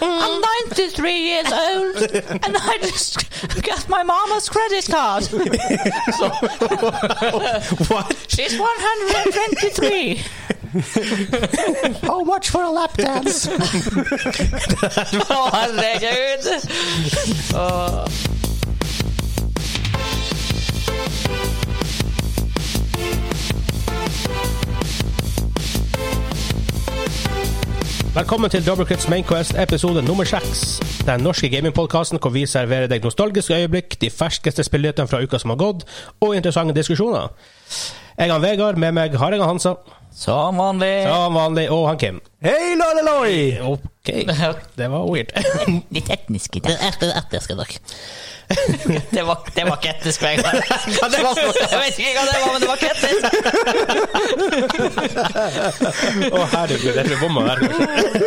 I'm 93 years old, and I just got my mama's credit card. What? She's 123. Oh, How much for a lapdance? Å, herregud! Velkommen til Double Clips Mainquest, episode nummer seks. Den norske gamingpodkasten hvor vi serverer deg nostalgiske øyeblikk, de ferskeste spillnyhetene fra uka som har gått, og interessante diskusjoner. Jeg er han Vegard, med meg har jeg han Hansa, Som vanlig. han Vanlig og han Kim. Hei, laleloi! OK, det var weird. Litt etnisk i dag. Etnisk i dag. Det var, det var ikke etnisk, Vegard. Jeg vet ikke hva det var, men det var ikke etnisk. Å, herregud, jeg tror jeg bomma der.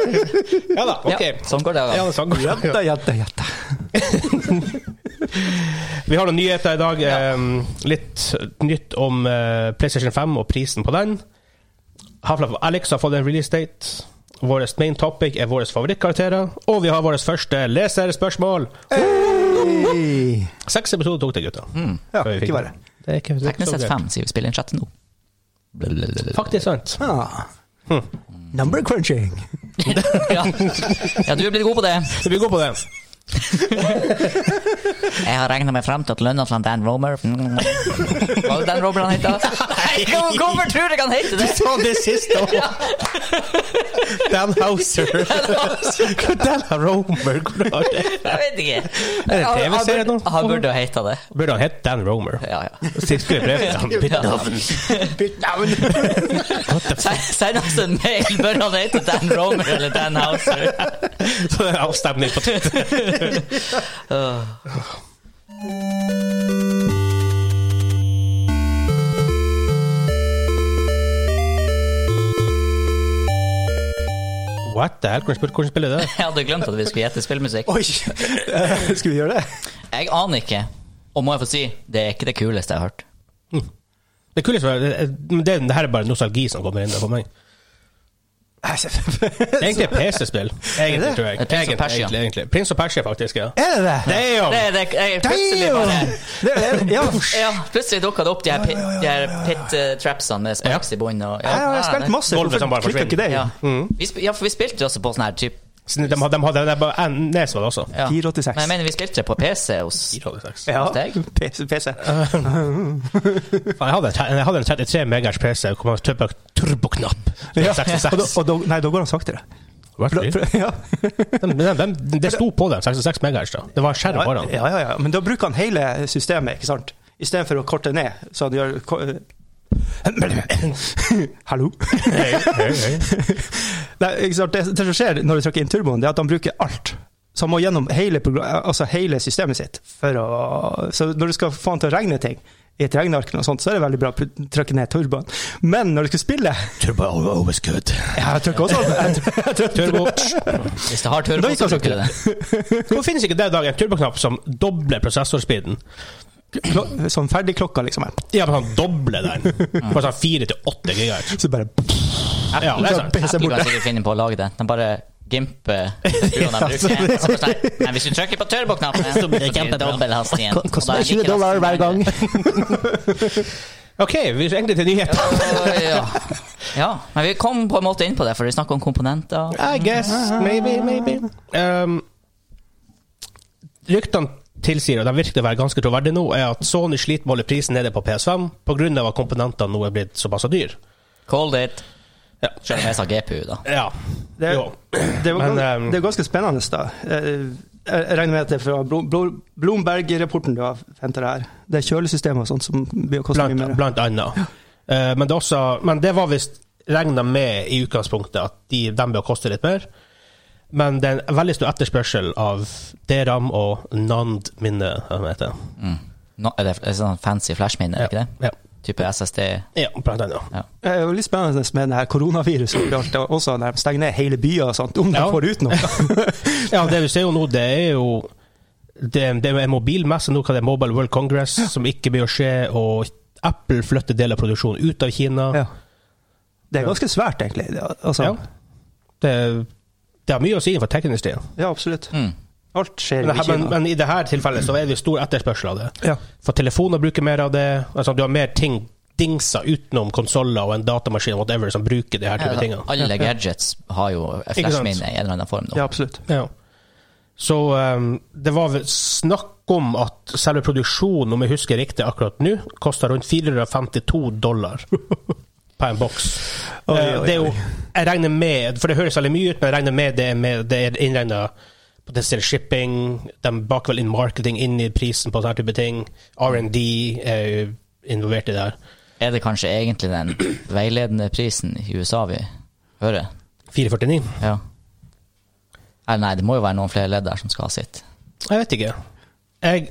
Ja da, OK. Ja, sånn går det. Ja, Da. det er sånn. Jenta, jenta, jenta. Vi har noen nyheter i dag. ehm, litt nytt om eh, PlayStation 5 og prisen på den. Half-Life Alex har fått en release date. Vår main topic er våre favorittkarakterer. Og vi har vårt første leserspørsmål. Hei. Seks episoder tok det, gutta. Ja, Før vi fikk ikke verre. den. Det er ikke, det er ikke Mm. Teknisk så sett gøy. fem, sier vi spiller inn chatten nå. Faktisk sant. Ah. Number crunching. ja. ja, du er blitt god på det. Så vi går på det. Jeg har regna meg frem til at lønna til han Dan Romer mm. Var det Dan Romer han het? Nei, hvor- hvorfor tror jeg han heter det? Ta det siste òg! Dan Houser. Dan Romer. Hvordan har det? Jeg vet ikke. Er det Han- han TV-serie nå? burde- Han burde jo heta det. Burde han hett Dan Romer? Ja, ja. Skriv brev til ham. Bytt navn. Bytt navn. Se- Send oss en mail. Bør han hete Dan Romer eller Dan Houser? Så det er avstemning på Twitter. What the hell? Hvordan spiller, hvordan spiller det? Jeg hadde glemt at vi skulle gjette spillmusikk. Oi, eh, skal vi gjøre det? Jeg aner ikke. Og må jeg få si, det er ikke det kuleste jeg har hørt. Det kuleste var det, det, det her er bare nostalgi som kommer inn der for meg. Det er egentlig et PC-spill. Egentlig, tror jeg. Det er Prince of Egentlig, Persia. egentlig, egentlig. Prince of Persia, faktisk. ja. Er det det? Det Damn! er det jeg, plutselig bare Damn! Det er det. Ja. Ja, plutselig dukka det opp de her, pit, de her pit eh, trapsene med sparks i bunnen. Og, Jeg har nei, spilt nei. masse. Golvet som bare Hvorfor klikker ikke det? Ja. Vi sp ja, for vi spilte jo også på sånn her typ Så De, de, hadde- de hadde det er bare en- Nes var det også. ja. 486. Men jeg mener, vi spilte det på PC hos Ja. Steg. PC. PC. Faen, jeg, hadde, en tre- jeg hadde en 33 megers PC hvor man trykka turboknapp. Ja. Ja. 66. Og da, og da, nei, da går han saktere. For da- for- Ja. Den- den- den- det sto på den, 66 megahertz. da. Det var en skjerm Ja, foran. ja, ja, ja. Men da bruker han hele systemet, ikke sant? Istedenfor å korte ned, så han gjør ko- Hallo? Hei, hei, hei. Nei, ikke sant? Det, det som skjer når du trykker inn turboen, det er at han bruker alt. Så han må gjennom hele, progra- altså hele systemet sitt. For å, så når du skal få han til å regne ting i et regneark, eller noe sånt, så er det veldig bra å put- trykke ned turboen. Men når du skal spille Turbo always good. ja, Jeg trykker også jeg trykker- jeg trykker- Turbo. Hvis det har turbo, Da gikk så han bruker du det. Hvorfor finnes ikke det i dag en turboknapp som dobler prosessorspeeden? klo- Sånn ferdigklokka, liksom. her. Ja, men han dobler den på sånn 4 til 8 gigahertz. Så bare Ja, det er sant. PC Apple borte. kan sikkert finne på å lage det. De bare gimper skruene de bruker. Ja, Så bare sånn, Nei, hvis du trykker på turboknappen, så blir det kjempedobbel hastighet. Og da er det like raskt som det. OK, vi er egentlig til nyheter. Å, Ja. ja, men vi kom på en måte inn på det, for vi snakker om komponenter. I guess, maybe, maybe. Um, ryktene tilsier, og de virker å være ganske troverdige nå, er at Sony sliter med å holde prisen nede på PS5 pga. at komponentene nå er blitt såpass dyr. Called it. Ja. Selv om jeg sa GPU, da. Ja. Det, Jo. det, var Men, gans- ehm, det er ganske spennende, da. Eh, Jeg regner med at det er fra Blo- Blo- Bloomberg-rapporten du har henta her. Det er kjølesystemet og sånt som blir å koste mye Blant, mer. blant annet. Eh, men, det er også, men det var visst regna med i utgangspunktet at de, de bør koste litt mer. Men det er en veldig stor etterspørsel av DRAM og NAND minne, hva det heter. Mm. Nå er det et sånn fancy flashminne, er det ikke det? Ja. Type SSD. ja, blant annet. Det er jo litt spennende med det her koronaviruset og alt, og også når de stenger ned hele byer og sånt, om de Ja. får ut noe. Ja, det vi ser jo nå, det er jo Det, det er en mobilmesse nå, hva det er Mobile World Congress, som ikke blir å skje, og Apple flytter deler av produksjonen ut av Kina. Ja. Det er ganske svært, egentlig. Det- Altså, Ja. Det, Det har mye å si for tekindustrien. Ja, absolutt. Mm. Alt skjer Men, det jo i her- men, Kina. men i dette tilfellet så er det jo stor etterspørsel av det. Ja. For telefoner bruker mer av det. Altså Du har mer ting dingser utenom konsoller og en datamaskin og whatever som bruker de her type Ja, tingene. alle gadgets har jo flashminne i en eller annen form nå. ja, absolutt. Ja. Så ehm, det var vel snakk om at selve produksjonen, om jeg husker riktig akkurat nå, kosta rundt 452 dollar på en boks. Oi, Eh, oi, det er jo, oi. jeg regner med, for det høres veldig mye ut, men jeg regner med det er, med, det er innregna potensiell shipping, de baker vel inn marketing inn i prisen på sånne type ting, R&D er jo involvert i det her. Er det kanskje egentlig den veiledende prisen i USA vi hører? 449? Ja. Eller nei, det må jo være noen flere ledd der som skal ha sitt. Jeg vet ikke. Jeg,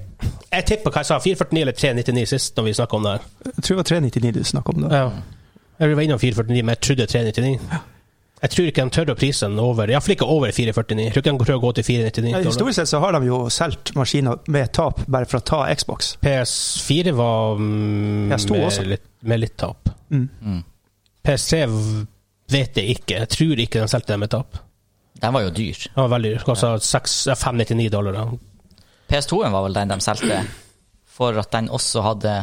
jeg tipper hva jeg sa, 449 eller 399 sist, når vi snakka om det her. Jeg tror det var 399 du snakka om da. Ja. Jeg var innom 449, men jeg trodde 399. Jeg tror ikke de tør å prise den over. Iallfall ikke over 449. Jeg tror ikke de tør å gå til 499. Nei, historisk sett så har de jo solgt maskiner med tap bare for å ta Xbox. PS4 var mm, PS2 med, også. litt, med litt tap. Mm. Mm. PS3 v- vet jeg ikke. Jeg tror ikke de solgte den med tap. Den var jo dyr. Den var veldig dyr. Altså seks- ja, 599 dollar. da. PS2-en var vel den de solgte for at den også hadde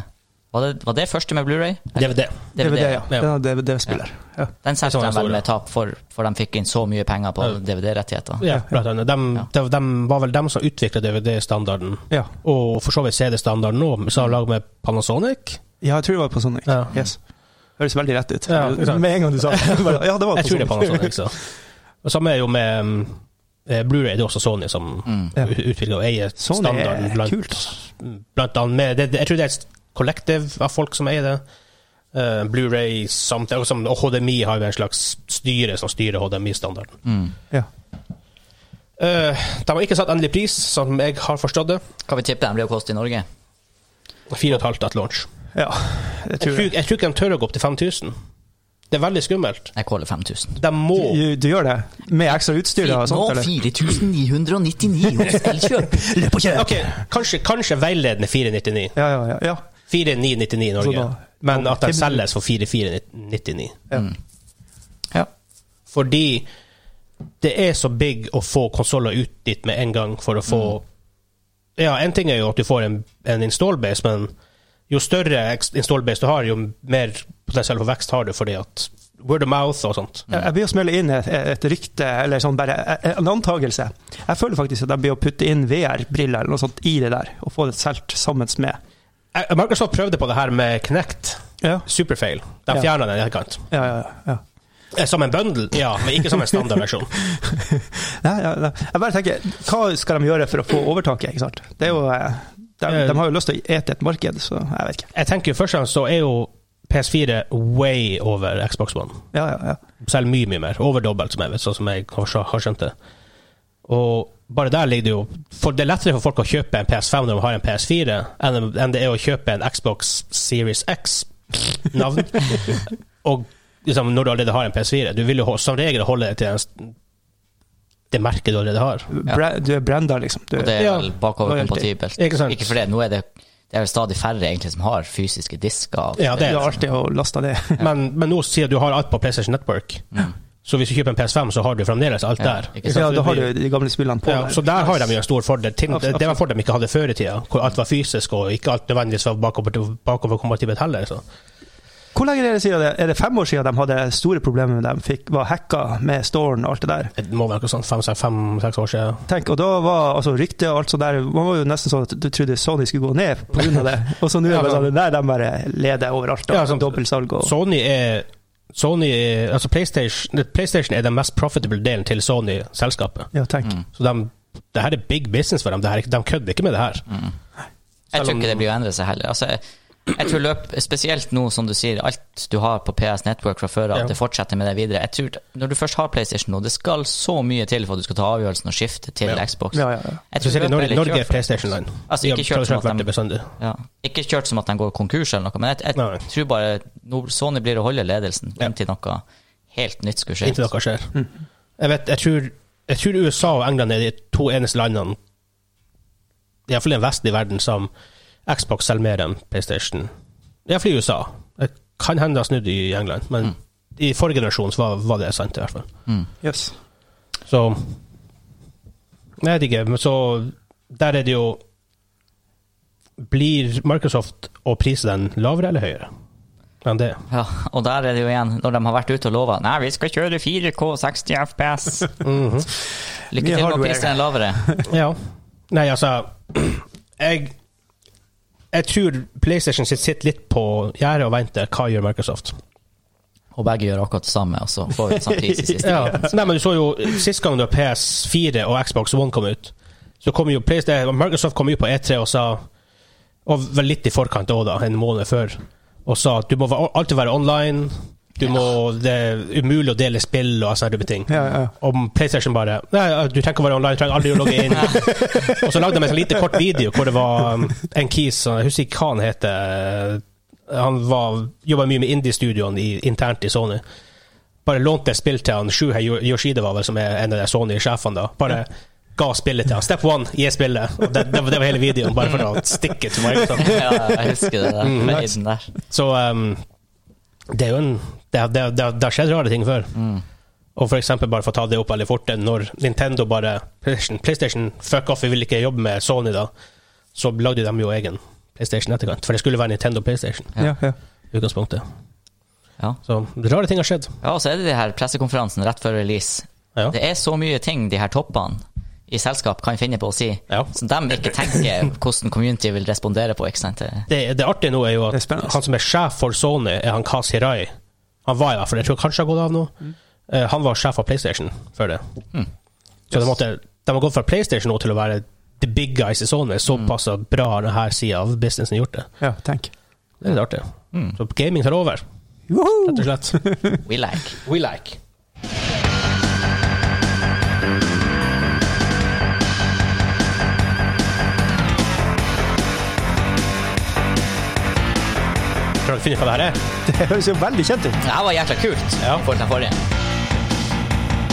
Var det, var det første med Blu-ray? DVD. DVD, ja. Ja. Den har DVD-spiller. Ja. Den Det er solgte sånn de vel jeg så med det. tap for, for de fikk inn så mye penger på Ja. DVD-rettigheter. Ja, blant annet. De, Ja. de, de var vel dem som utvikla DVD-standarden, Ja. og for så vidt CD-standarden nå, i lag med Panasonic. ja, jeg tror det var på Sonic. Ja. Yes. Høres veldig rett ut. Ja, ikke sant. med en gang du sa det. Bare, Ja, det var Jeg tror det er Sonic. Panasonic. Så. Og samme er jo med um, eh, Blu-ray, det er også Sony som Mm. Ja. utvikler og eier Sony standarden. er Blant, kult, altså. blant annet med, det, det- jeg tror det er et kollektiv av folk som eier det. Eh, Blu-ray samt og, som, og HDMI har jo en slags styre som styrer HDMI-standarden. Mm. Ja. Eh, de har ikke satt endelig pris, som jeg har forstått det. Kan vi tippe den blir å koste i Norge? 4,5 at launch. ja, det Jeg tror tror, jeg. jeg tror ikke de tør å gå opp til 5000. Det er veldig skummelt. Jeg caller 5000. De må Du, du gjør det? Med ekstra utstyr da, og sånt, eller? 4999 hos Elkjøp! Løp og kjøp! Ok, kanskje, kanskje veiledende 499. Ja, ja, ja. ja. 4999 i Så Norge. da- men at de Tim- selges for 4499. Ja. Fordi det er så big å få konsoller ut dit med en gang for å få Mm. Ja, en ting er jo at du får en, en installbase, men jo større ex- installbase du har, jo mer potensiell for vekst har du fordi at word of mouth og sånt. Jeg jeg blir å smelle inn et, et rykte, eller sånn bare en antagelse. Jeg føler faktisk at jeg blir å putte inn VR-briller eller noe sånt i det der, og få det solgt sammen med. Eh, Microsoft prøvde på det her med Knect. Ja, Superfail. De Ja. fjerna den i etterkant. ja, ja. ja. Eh, Som en bundle, ja, men ikke som en standardversjon. Nei, ja, nei. Jeg bare tenker, hva skal de gjøre for å få overtaket, ikke sant? Det er jo, eh, de, de har jo lyst til å ete et marked, så jeg vet ikke. Jeg tenker jo først og fremst så er jo PS4 way over Xbox One. Ja, ja, ja. Selv mye, mye mer. Over dobbelt, som jeg vet, sånn som jeg har skj- har skjønt det. Og bare der ligger det jo For det er lettere for folk å kjøpe en PS5 når de har en PS4, enn enn det er å kjøpe en Xbox Series X-navn. Og liksom, når du allerede har en PS4. Du vil jo ho- som regel holde deg til den, s- det merket du allerede har. Bra, du er branda, liksom. Du, Og det er Ja. vel bakoverkompatibelt. Ikke sant. Ikke for det, nå er det, det er vel stadig færre egentlig som har fysiske disker. av- Ja, det det er er det. artig å laste det. Men, men nå sier jeg at du har alt på PlayStation Network. Så hvis du kjøper en PS5, så har du fremdeles alt Mm. Ja, der. ikke Ja, sant? da har du de gamle spillene på. Ja, så der har de jo en stor fordel. Ting, det, det var en Absolutt. fordel de ikke hadde før i tida, hvor alt var fysisk og ikke alt nødvendigvis var bakover- bakoverkompatibelt heller. Så. Hvor lenge er det siden det? Er det fem år siden de hadde store problemer med dem? Fikk, var hacka med storen og alt det der? Det må være noe sånn sånt fem-seks år siden. Tenk, og da var altså, ryktet og alt sånt der Man var jo nesten sånn at du trodde Sony skulle gå ned pga. det. Og så nå er det bare sånn Nei, de bare leder overalt. Og Ja, sånn- dobbeltsalg og Sony er Sony, er- altså PlayStation, PlayStation er den mest profitable delen til Sony-selskapet. Ja, tenk. Så de, det her er big business for dem. Det her, er ikke- de kødder ikke med det her. Mm. Jeg Selv tror om- ikke det blir å endre seg heller. Altså, jeg, jeg tror løp, Spesielt nå, som du sier, alt du har på PS Network fra før av, Ja. det fortsetter med det videre. Jeg tror, Når du først har PlayStation nå, det skal så mye til for at du skal ta avgjørelsen og skifte til Ja. Xbox. Ja, ja, ja. Jeg tror Spesielt i løpet er Norge, litt Norge er kjørt for- PlayStation-land. Altså, De har ikke kjørt tradisjonelt som at vært de- det bestandig. Ja. Ikke kjørt som at de går konkurs eller noe, men jeg, Nei. jeg tror bare nå Sony blir å holde ledelsen Ja. inntil noe helt nytt skulle Inntil skje. noe skjer. Jeg, vet, jeg, tror, jeg tror USA og England er de to eneste landene, iallfall i den vestlige verden, som Xbox selger mer enn PlayStation. Iallfall i USA. Det kan hende det har snudd i England, men i forrige generasjon så var, var det sant, i hvert fall. Yes. Så Jeg vet ikke, men så Der er det jo Blir Microsoft og prisen lavere eller høyere enn det? Ja, og der er det jo igjen, når de har vært ute og lova Nei, vi skal kjøre 4K 60 FPS. Mhm. Lykke til Mye med å hardware. prise den lavere. Ja. Nei, altså Jeg jeg tror PlayStation sitt sitter litt på gjerdet og venter. Hva gjør Microsoft? Og begge gjør akkurat det samme, og så får vi samme pris i siste. Ja. Nei, men du så jo Sist gang da PS4 og Xbox One kom ut, så kom jo PlayStation, Microsoft kom jo på E3 og sa Og var litt i forkant òg, da, en måned før, og sa at du må va- alltid være online. Du må, det er umulig å dele spill og sånne type ting. Ja, ja. Om PlayStation bare Nei, du trenger ikke å være online, du trenger aldri å logge inn. og så lagde de en sånn lite kort video hvor det var um, en kis som- Jeg husker ikke hva han heter. eh, Han jobba mye med indie-studioene i- internt i Sony bare lånte et spill til han Shuhei Yoshida, var vel, som er en av de Sony-sjefene, da. Bare ga spillet til han. Step one, gi spillet. Og det, det, var- det var hele videoen, bare for å stikke til Microsoft. Ja, jeg husker det der. Mhm. Faden der. Så um, det er jo en Det, det, det, det har skjedd rare ting før. Mm. Og for eksempel, bare for å ta det opp veldig fort, det er når Nintendo bare PlayStation, PlayStation fuck off, vi vil ikke jobbe med Sony, da. Så lagde de jo egen PlayStation i etterkant. For det skulle være Nintendo PlayStation Ja, ja. i utgangspunktet. Ja. Så rare ting har skjedd. ja, og så er det de her pressekonferansene rett før release. Ja. Det er så mye ting de her toppene i selskap kan finne på å si, Ja. som de ikke tenker hvordan community vil respondere på. ikke sant? Det- det, det artige nå er jo at Det er spennende. han som er sjef for Sony, er han Kaz Hirai. Han var i hvert fall Jeg tror kanskje han har gått av nå. Mm. Eh, han var sjef for PlayStation før det. Så de, måtte, de har gått fra PlayStation nå til å være the big guys i Sony. Såpass Mm. bra har denne sida av businessen gjort det. ja tenk. Det er litt artig. Mm. Så gaming tar over, Woohoo! rett og slett. We like. We like. Tror dere finner ut hva det her er? Det høres jo veldig kjent ut. Det her var jækla kult. Ja. i forhold til den forrige.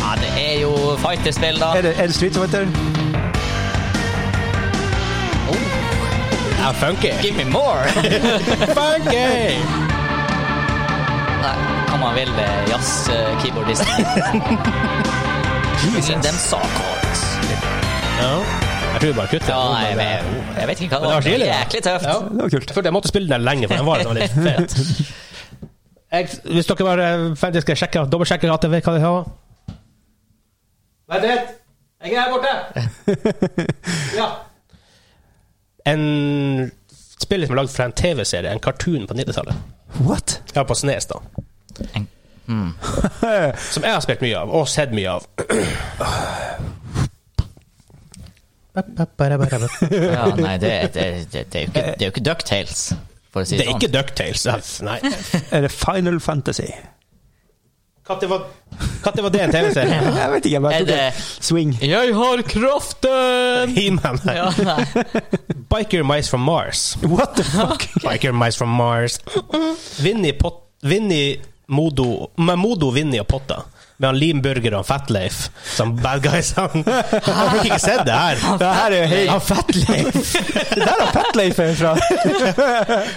Ja, det er jo fighterspill, da. Er det, er det Street Fighter? Ja, funky. Give me more! funky! Nei, hva man vil eh, jazz eh, keyboardist. Give them saw chords. Ja. Jeg tror vi bare kutter. Ja, den, nei, men, men, oh, eh, jeg vet Men det ikke hva det var var. Det var stilig, da. jæklig tøft. Ja. Det var kult. Jeg følte jeg måtte spille den der lenge, for den var sånn litt fet. Jeg, hvis dere var eh, ferdig, skal jeg sjekke, dobbeltsjekke at jeg vet hva de har. Vent litt! Jeg er her borte! Ja. En spiller som er lagd fra en TV-serie, en cartoon på 90-tallet. What? Ja, på Snes, da. En- Som jeg har spilt mye av, og sett mye av. Det Ja, nei, det, det, det, det, er jo ikke, det er jo ikke Ducktales, for å si det er sånn. ikke Ducktales. Nei. Er det Final Fantasy? Når var, når var det en TV-serie? Jeg vet ikke. jeg bare Er tok det- det... Swing. Jeg har kraften! He-Man. nei. Ja, nei. Biker Mice from Mars. What the fuck? Biker Mice from Mars. Vinni, Pot Vinni Modo Med Modo, Vinni og Potta. Med han Limburger og han Fatleif som bad guys. Han har dere ikke sett det her. Det her er jo helt Han Fatleif Det der har Petleif er fra.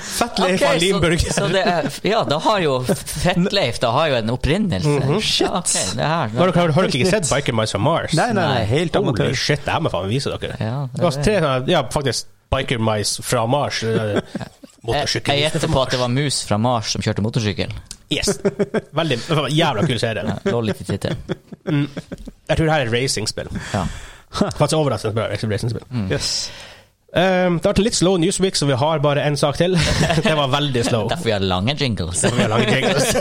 Fatleif Ok, han så- Limburger. Så det er, ja, da har jo Fettleif da har jo en opprinnelse. Mhm. Shit. Ja, ok, det her, Har dere, har dere ikke sett Biker Mice from Mars? Nei, nei, nei. Helt Holy amatør. shit, det her må jeg faen vise dere. Ja, det Det var tre, sånne- ja, faktisk Biker Mice fra Mars. eh, jeg jeg Motorsykkel. gjetter på at det var mus fra Mars som kjørte motorsykkel. Yes. Veldig, jævla kul serie. Ja, lå litt i tittelen. Jeg tror det her er et racingspill. Ja. Faktisk overraskende bra racingspill. Yes. Um, det har vært litt slow newsweek, så vi har bare én sak til. det var veldig slow. Derfor vi har lange jingles. Vi har lange jingles.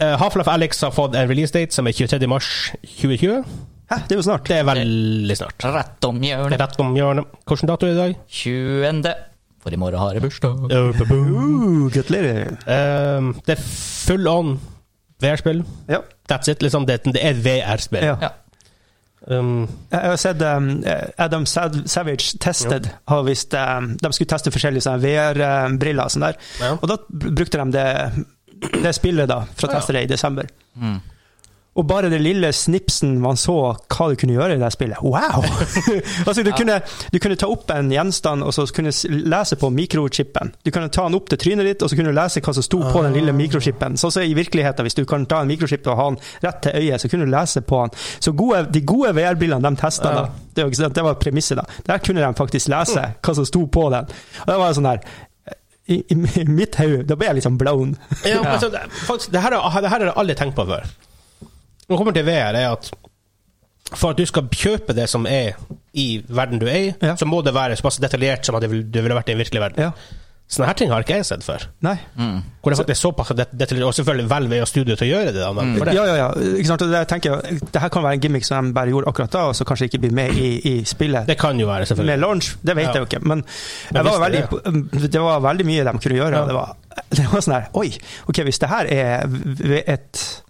uh, Half-Life Alex har fått en release date som er 23. mars 2020. Hæ, det er jo snart. Det er veldig snart. Rett om Det er hjørnet. rett om hjørnet. Hvilken dato er det i dag? 20. For i morgen har jeg bursdag. Uh, ba-boom. Uh, gratulerer. Um, det er full on VR-spill. Ja. That's it. Liksom. Det, det er et VR-spill. ja. Ja. Um, Jeg har sett um, Adam Sav- Savage Tested har visst um, De skulle teste forskjellige sånne VR-briller og sånn der. Ja. Og da br- brukte de det, det spillet da, for å Ja. Mm, teste det i desember. Og bare det lille snipsen man så hva du kunne gjøre i det spillet. Wow! altså, du, kunne, du kunne ta opp en gjenstand og så kunne s- lese på mikrochipen. Du kunne ta den opp til trynet ditt, og så kunne du lese hva som sto på den lille mikrochipen. Sånn som i virkeligheten, hvis du kan ta en mikrochip og ha den rett til øyet, så kunne du lese på den. Så gode, de gode VR-brillene de testa, Ja. da. Det, var ikke sant, det var premisset, da. Der kunne de faktisk lese hva som sto på den. Og det var sånn der I, i i mitt hode, da ble jeg liksom blown. Ja, men så, faktisk, det, her, har- det her har jeg aldri tenkt på før. Når det kommer til VR, er at for at du skal kjøpe det som er i verden du er i, Ja. så må det være såpass detaljert som at det vil- det ville vært i den virkelige verden. Ja. Sånne her ting har ikke jeg sett før. Nei. Hvor det faktisk er såpass det- detaljert, og selvfølgelig Valve er jo studio til å gjøre det. Da, men for det. Mm. Ja, ja, ja. Ikke sant? Og Det, tenker jeg, det her kan være en gimmick som de bare gjorde akkurat da, og så kanskje ikke blir med i, i spillet. det kan jo være, selvfølgelig. Med launch, det vet Ja. jeg jo ikke, men jeg var visste veldig, det. impo- mm, det var veldig mye de kunne gjøre. Ja. Og det, var, det var sånn her Oi, ok, hvis det her er v- v- et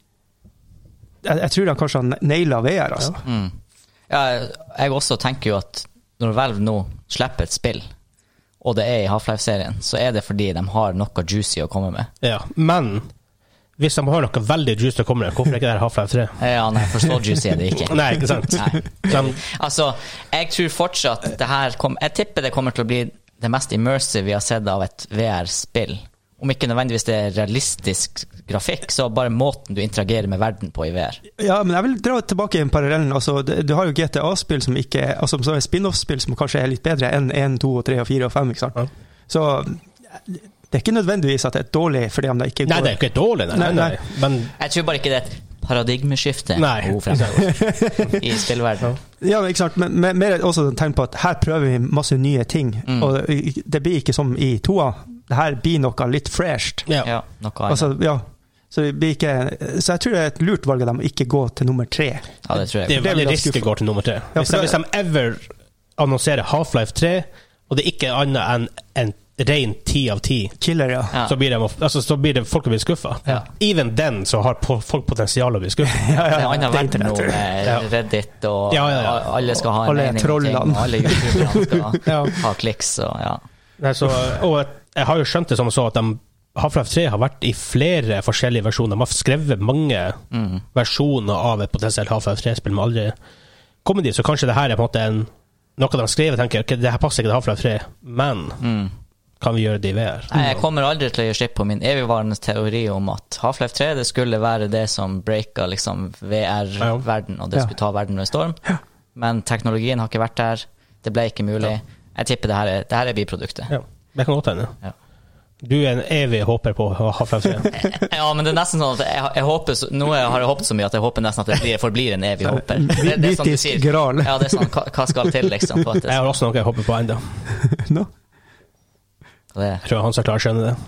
Jeg, jeg tror han kanskje har naila VR, altså. Mm. Ja, jeg også tenker jo at når Valve nå slipper et spill, og det er i Half-Life-serien, så er det fordi de har noe juicy å komme med. Ja, men hvis de har noe veldig juice til å komme med, hvorfor er ikke det her Half-Life 3? Ja, nei, for så juicy er det ikke. Nei, ikke sant? Nei. De, Altså, jeg tror fortsatt det her kom, Jeg tipper det kommer til å bli det mest immersive vi har sett av et VR-spill. Om ikke nødvendigvis det er realistisk grafikk, så bare måten du interagerer med verden på i VR. Ja, men jeg vil dra tilbake i en parallellen. Altså, det- du har jo GTA-spill som ikke er, altså, som er spin-off-spill som kanskje er litt bedre enn 1, 2, og 3, og 4 og 5. Ikke sant? Ja. Så det er ikke nødvendigvis at det er dårlig fordi om det ikke nei, går det er jo ikke dårlig, nei, nei, Nei, nei. nei. men Jeg tror bare ikke det er et paradigmeskifte Nei. behov fremover i spillverdenen. Ja, men ikke sant, men men mer også et tegn på at her prøver vi masse nye ting. Mm. Og det blir ikke som i toa. Det her blir noe litt fresht. ja. Ja, noe annet. Altså, ja. Så, det blir ikke, så jeg tror det er et lurt valg av dem å ikke gå til nummer tre. Ja, det tror jeg. Det er Det veldig vil jeg risky skuffe. går til nummer tre. Hvis, for de, det- hvis de ever annonserer Half-Life 3, og det ikke er annet enn en ren ti av ti, Killer, ja. Ja. så, blir de, altså, så blir det folk å bli skuffa. Ja. Even den så har po- folk potensial å bli skuffa. Ja, Det ja, er en annen det er verden nå internett. Ja. med Reddit og Ja, ja, ja. alle skal ha en Alle mening om ting, trollene. og alle youtuberne skal Ja. ha kliks og ja. Nei, så- og jeg har jo skjønt det som så at de Half-Life 3 har vært i flere forskjellige versjoner. De har skrevet mange Mm. versjoner av et potensielt Half-Life 3-spill, men aldri kommet dit. Så kanskje det her er på en måte en, noe de skriver og tenker ok, det her passer ikke til Half-Life 3, men kan vi gjøre det i VR? Mm. Nei, jeg kommer aldri til å gi slipp på min evigvarende teori om at Half-Life 3 det skulle være det som breaka liksom VR-verden, og det Ja. skulle ta verden med storm. Men teknologien har ikke vært der. Det ble ikke mulig. Jeg tipper det her er, det her er biproduktet. Ja, det kan godt hende. Ja. Du er en evig håper på Half-Life 3. Ja, men det er nesten sånn at jeg, jeg håper så, Nå har jeg håpet så mye at jeg håper nesten at det blir, forblir en evig håper. Det, det er sånn du Mytisk sier. gral. Ja, det er sånn, hva, hva skal til, liksom? For at Jeg det, har også noe jeg håper på ennå. Nå? det, Jeg tror han skal klare å skjønne det.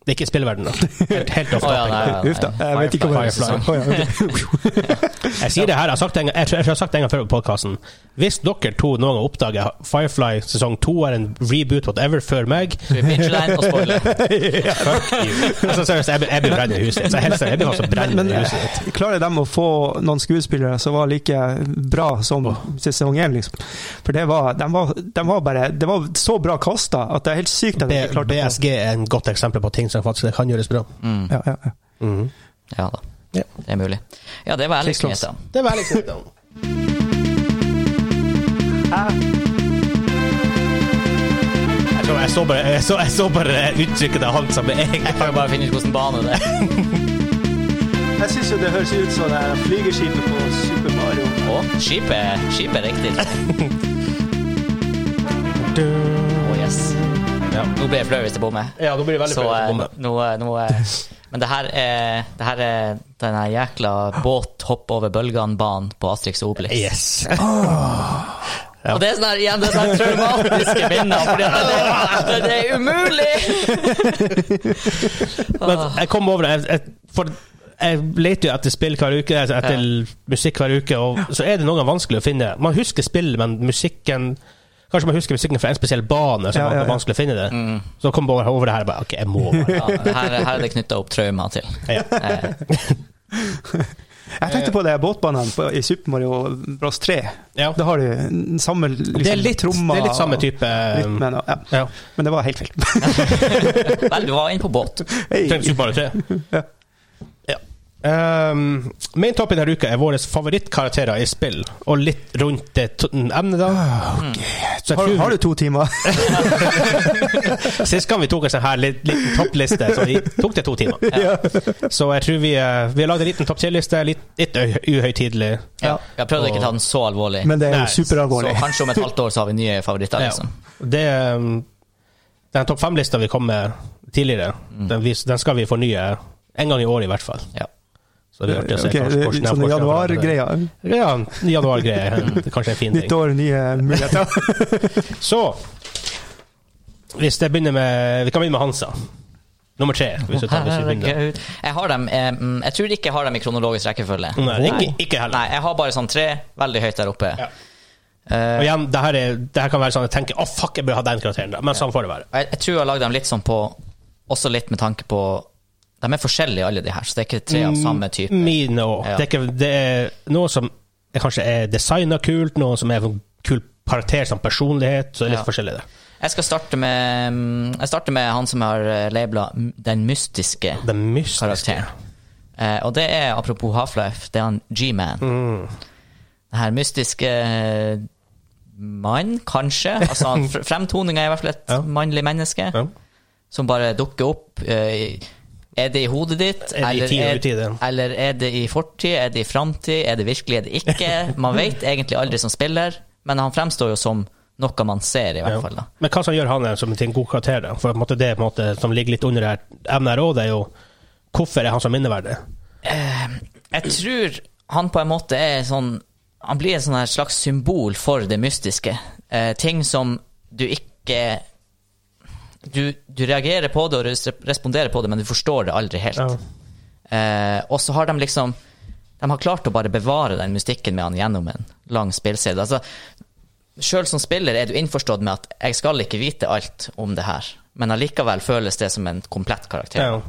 Det er ikke spillverden, da. Helt, helt ofte. Å, ja, nei, nei, nei. Uff da. Jeg vet ikke om jeg Firefly. Å, ja, ok. Jeg sier det her, jeg har sagt det en gang, jeg tror jeg tror jeg har sagt det en gang før på podkasten. Hvis dere to noen gang oppdager Firefly sesong to er en reboot whatever før meg Skal vi binge den og spoile? Fuck you. Altså, seriøst, jeg blir- jeg blir brennende i huset ditt. Så jeg helst- jeg blir altså brennende Men i eh, huset ditt. klarer de å få noen skuespillere som var like bra som sesong én, liksom? For det var, de var, de var bare Det var så bra kasta at det er helt sykt at de ikke B- klarte å BSG er en godt eksempel på ting som faktisk kan gjøres bra. Mm, ja, ja, ja. ja da. Ja. Det er mulig. Ja, det var Six Flags. Alex-nyhetene. Det var liksom det. Jeg tror jeg så bare, jeg så, jeg så bare uttrykket av han som er Jeg kan jo bare finne ut hvordan bane det er. Jeg syns jo det høres ut som det er flygeskipet på Super Mario. Å, skipet, er- skipet er riktig. Å, yes. Ja. Nå ble jeg flau hvis jeg bommer. Oh, Ja, nå blir det veldig Så flau hvis jeg eh, bommer. nå, eh, nå eh, Men det her er, det her er denne jækla båt-hopp-over-bølgene-banen på Astrix og Obelix. Yes. Og det er sånn her, igjen, det er sånn her traumatiske minner, fordi at det, det, det er umulig! Men jeg kom over det. Jeg, jeg, for jeg leter jo etter spill hver uke, altså etter musikk hver uke, og så er det noen ganger vanskelig å finne. Man husker spill, men musikken Kanskje man husker musikken fra en spesiell bane, så Ja, man ja, er ja. vanskelig å finne det. Så kom jeg over, over det her og bare OK, jeg må bare Ja, det her, her er det knytta opp traumer til. Ja. Eh, Jeg tenkte på det båtbanen på, i Super Mario Bros 3. ja. Da har du den samme liksom, det, er litt, tromma det er litt samme og type eh, rytmen og- ja. Ja. Men det var helt feil. Vel, du var inne på båt. Hey. Tenkte Super Mario 3. Ja. Ja. Um, main topic denne uka er våre favorittkarakterer i spill, og litt rundt det t- emnet, da. Så jeg Ah, Har, tror- har du to timer? Sist gang vi tok en sånn her lit- liten toppliste, så vi tok det to timer. ja. Så jeg tror vi, eh, vi har lagd en liten topp 10-liste, litt, litt ø- uhøytidelig. Ja. Jeg prøvde ikke å ta den så alvorlig. Men det er Nei, jo superalvorlig. Så kanskje om et halvt år så har vi nye favoritter. Ja. Liksom. Det, um, den topp fem-lista vi kom med tidligere, den, vi, den skal vi fornye en gang i året, i hvert fall. Ja. Så det er artig å se Ok, hvordan- hvordan- sånn hvordan- januar-greia. Ja, januargreier. Det er kanskje en fin Nytt ting. år, nye muligheter. Så hvis jeg begynner med Vi kan begynne med Hansa. Nummer tre. Hvis vi tar, hvis vi begynner. Herregud. Jeg har dem eh, mm, Jeg tror ikke jeg har dem i kronologisk rekkefølge. Nei, ikke, ikke heller. Nei, jeg har bare sånn tre veldig høyt der oppe. Ja. Eh, Og igjen, det her, er, det her kan være sånn at jeg tenker Å, fuck, jeg burde ha den karakteren. der», Men sånn får det være. jeg, jeg tror jeg har lagd dem litt sånn på Også litt med tanke på De er forskjellige, alle de her, så det er ikke tre Mm, av samme type. Mine òg. Ja. Det, er ikke- det er noe som er kanskje er designa kult, noe som er en kul karakter som personlighet, så det er litt Ja. forskjellig der. Jeg skal starte med mm, Jeg starter med han som har eh, labela mm, Den mystiske Det er mystiske. karakteren. Eh, og det er, apropos Half-Life, det er han G-Man. Mm. Den her mystiske eh, mann, kanskje. Altså han fr- fremtoninga er i hvert fall et Ja. mannlig menneske Ja. som bare dukker opp. eh, i- er det i hodet ditt? Er det i tid og er- utide? eller er det i fortid? Er det i framtid? Er det virkelig? Er det ikke? Man vet egentlig aldri som spiller, men han fremstår jo som noe man ser, i hvert Ja. fall. da. Men hva som gjør han her som til en god karakter, da? For på en måte det på en måte, som ligger litt under det her emnet her òg, det er jo hvorfor er han så minneverdig? Jeg tror han på en måte er sånn Han blir et sånn her slags symbol for det mystiske. Eh, ting som du ikke du, du reagerer på det og res- responderer på det, men du forstår det aldri helt. Ja. Eh, og så har de liksom De har klart å bare bevare den mystikken med han gjennom en lang spillside. Altså, Sjøl som spiller er du innforstått med at 'jeg skal ikke vite alt om det her', men allikevel føles det som en komplett karakter. Ja.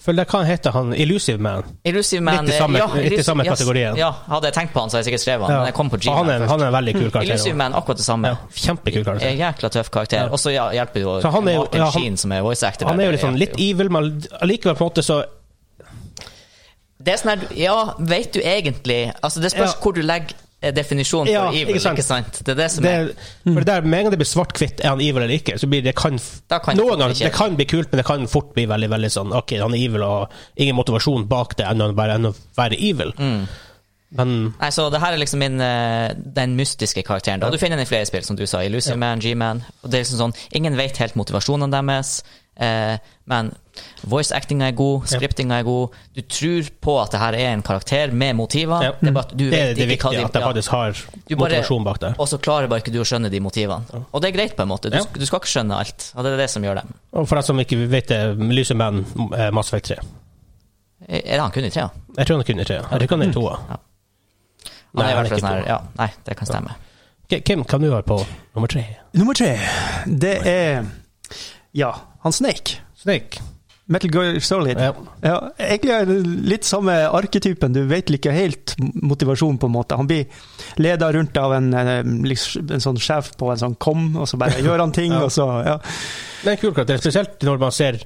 Følg deg, hva heter han? Illusive Man? Elusive Man Litt i samme- ja, litt i Elusive- samme ja, kategorien. Ja, hadde jeg tenkt på han, så hadde jeg sikkert skrevet han. Ja. Men jeg kom på Og han, G-Man er, han er en veldig kul først. karakter. også. Elusive Man, akkurat det samme. Ja, kjempekul karakter. En Jækla tøff karakter. Og så ja, hjelper det jo Så han er jo- Martin ja, han- Sheen, som er voice actor. Han der, er jo det liksom hjelper litt jo. evil, men allikevel på en måte så Det er sånn her, ja, vet du egentlig Altså, det spørs Ja. hvor du legger eh, definisjonen Ja, for evil, ikke ikke sant? sant? Det er det som det, Sånn er For det der, Med en gang det blir svart-hvitt, er han evil eller ikke, så blir det kan, Da kan det noen fort ganger, bli det kan bli kult, men det kan fort bli veldig veldig sånn Ok, han er evil, og ingen motivasjon bak det enn å bare enn å være evil. Mm. Men Nei, så det her er liksom min eh, Den mystiske karakteren. Da. Du finner den i flere spill, som du sa. Illusive Man, G-Man. Og det er liksom sånn Ingen vet helt motivasjonene deres. eh, men voice actinga er god, scriptinga er god. Du tror på at det her er en karakter med motiver. Ja. Det er bare at du det er vet det ikke viktige, hva de at jeg ja. faktisk har Du bare- motivasjon bak det. Og så klarer bare ikke du å skjønne de motivene. Og det er greit, på en måte. Du, Ja. sk- du skal ikke skjønne alt. Og det er det som gjør det. Og for deg som ikke vet det, Lyse menn, eh, Mass Effect 3. Er det han kun i trea? Jeg tror han er kun i tre. Jeg tror ikke han Mm. er i toa. Han Nei, er i han hvert er fall ikke sånn her to. Ja, nei, det kan stemme. K- Kim, kan du være på nummer tre? Nummer tre, det er Ja, han Snake. Snake. Metal Gear Solid. Ja. Ja, egentlig er det litt samme arketypen. Du vet ikke helt motivasjonen, på en måte. Han blir leda rundt av en, eh, liksom, en sånn sjef på en sånn kom, og så bare gjør han ting, Ja. og så ja. Det er en kul karakter, spesielt når man ser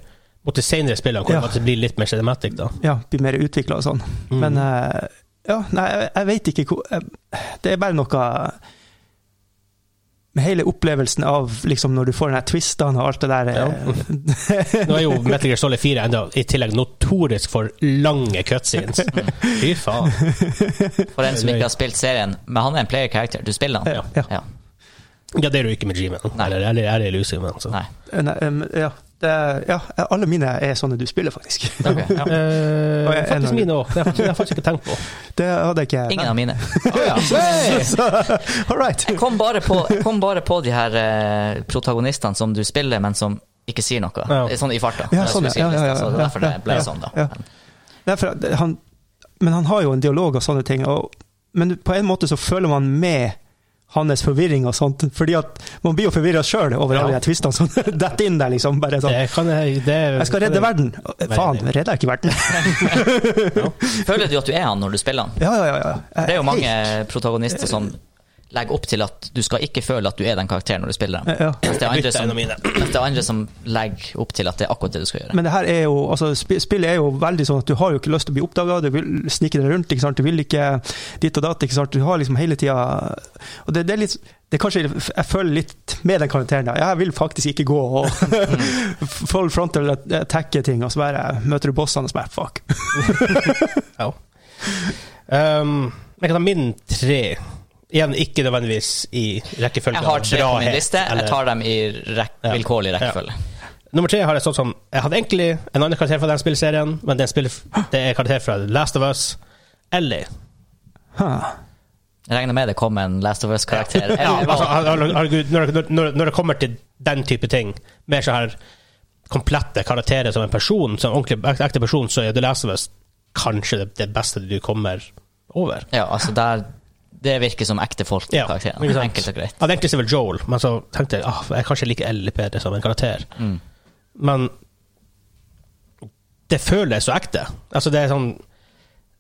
mot de senere spillene, hvor Ja. det blir litt mer cinematic, da. ja, blir mer utvikla og sånn. Mm. Men eh, ja, nei, jeg, jeg vet ikke hvor eh, Det er bare noe med hele opplevelsen av liksom når du får den her twisten og alt det der eh, Nå er jo Metal Gear Solid 4 enda i tillegg notorisk for lange cutscenes. Fy faen. For en som Eller- ikke har spilt serien, men han er en player character. Du spiller han. Ja. Ja. Ja, det er du ikke med G-Man. Nei. Eller, eller er det Lucy altså. Man? Så. Nei. nei, em, ja, det, er- ja, alle mine er sånne du spiller, faktisk. Ok, ja. Eh, Og jeg- faktisk en- mine òg. Det har jeg faktisk- det har jeg faktisk ikke tenkt på. Det hadde jeg ikke Ingen av mine. Så, all right. Jeg kom bare på, jeg kom bare på de her eh, protagonistene som du spiller, men som ikke sier noe. Ja. Det er Sånn i farta. Ja, sånn, ja, ja, ja, Så det er ja, derfor det ja, ble ja, sånn, da. ja. Nei, for at han, men han har jo en dialog og sånne ting, og, men på en måte så føler man med hans forvirring og sånt, fordi at man blir jo forvirra sjøl over alle Ja. de tvistene som detter inn der, liksom. Bare sånn Det kan jeg, det, Jeg skal redde verden! Faen, redder jeg ikke verden? Føler du at du er han når du spiller han? Ja, ja, ja. ja. Det er jo mange Helt. protagonister som legger opp til at du skal ikke føle at du er den karakteren når du spiller dem. Ja. Mens det er andre Bytte en som, av mine. mens det er andre som legger opp til at det er akkurat det du skal gjøre. Men det her er jo, altså, sp- spillet er jo veldig sånn at du har jo ikke lyst til å bli oppdaga, du vil snike deg rundt, ikke sant? du vil ikke ditt og datt. ikke sant? Du har liksom hele tida Og det, det er litt det er kanskje, Jeg føler litt med den karakteren. da. Jeg vil faktisk ikke gå og full frontal attacke ting, og så bare møter du bossene og så bare fuck. Ja. Um, jeg kan ta min tre. Igjen ikke nødvendigvis i rekkefølge. Jeg har av tre på min brahet, liste. eller- Jeg tar dem i rekk, Ja. vilkårlig rekkefølge. Nummer tre har jeg stått som Jeg hadde egentlig en annen karakter fra den spillserien, men det er, en spill, det er karakter fra Last of Us. Ellie. Huh. Jeg regner med det kom en Last of Us-karakter. Ja, Eller- altså, herregud, når, når, når det kommer til den type ting, mer så her komplette karakterer som en person, som en ordentlig ek- ekte person, så er The Last of Us kanskje det, det beste du kommer over. Ja, altså der Det virker som ekte folk. Ja, karakteren. ikke sant? Enkelt og greit. Jeg hadde egentlig sett vel Joel, men så tenkte jeg ah, jeg kanskje liker Ellie bedre som en karakter. Mm. Men det føles så ekte. Altså, det er sånn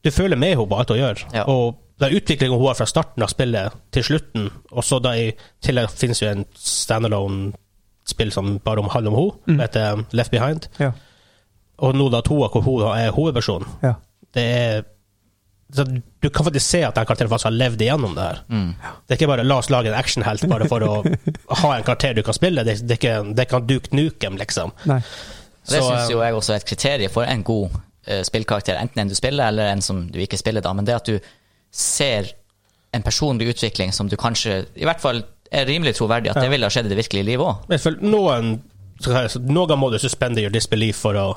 Du føler med henne på alt hun gjør. Ja. Og den utviklingen hun har fra starten av spillet til slutten, og så da i tillegg finnes jo en standalone-spill som bare om handler om Mm. henne, som heter Left Behind. Ja. Og nå da toa, hvor hun da er hovedpersonen. ja. Det er så Du kan faktisk se at den karakteren faktisk har levd igjennom det her. Mm. Det er ikke bare 'la oss lage en actionhelt bare for å ha en karakter du kan spille'. Det, det, er ikke, det kan Duke Nukem, liksom. Nei. Og det Så, eh, syns jo jeg også er et kriterium for en god eh, spillkarakter, enten en du spiller, eller en som du ikke spiller, da. Men det at du ser en personlig utvikling som du kanskje I hvert fall er rimelig troverdig at det ville ha skjedd i det virkelige livet òg. Men for noen, så kan jeg si, noen må du suspende your disbelief for å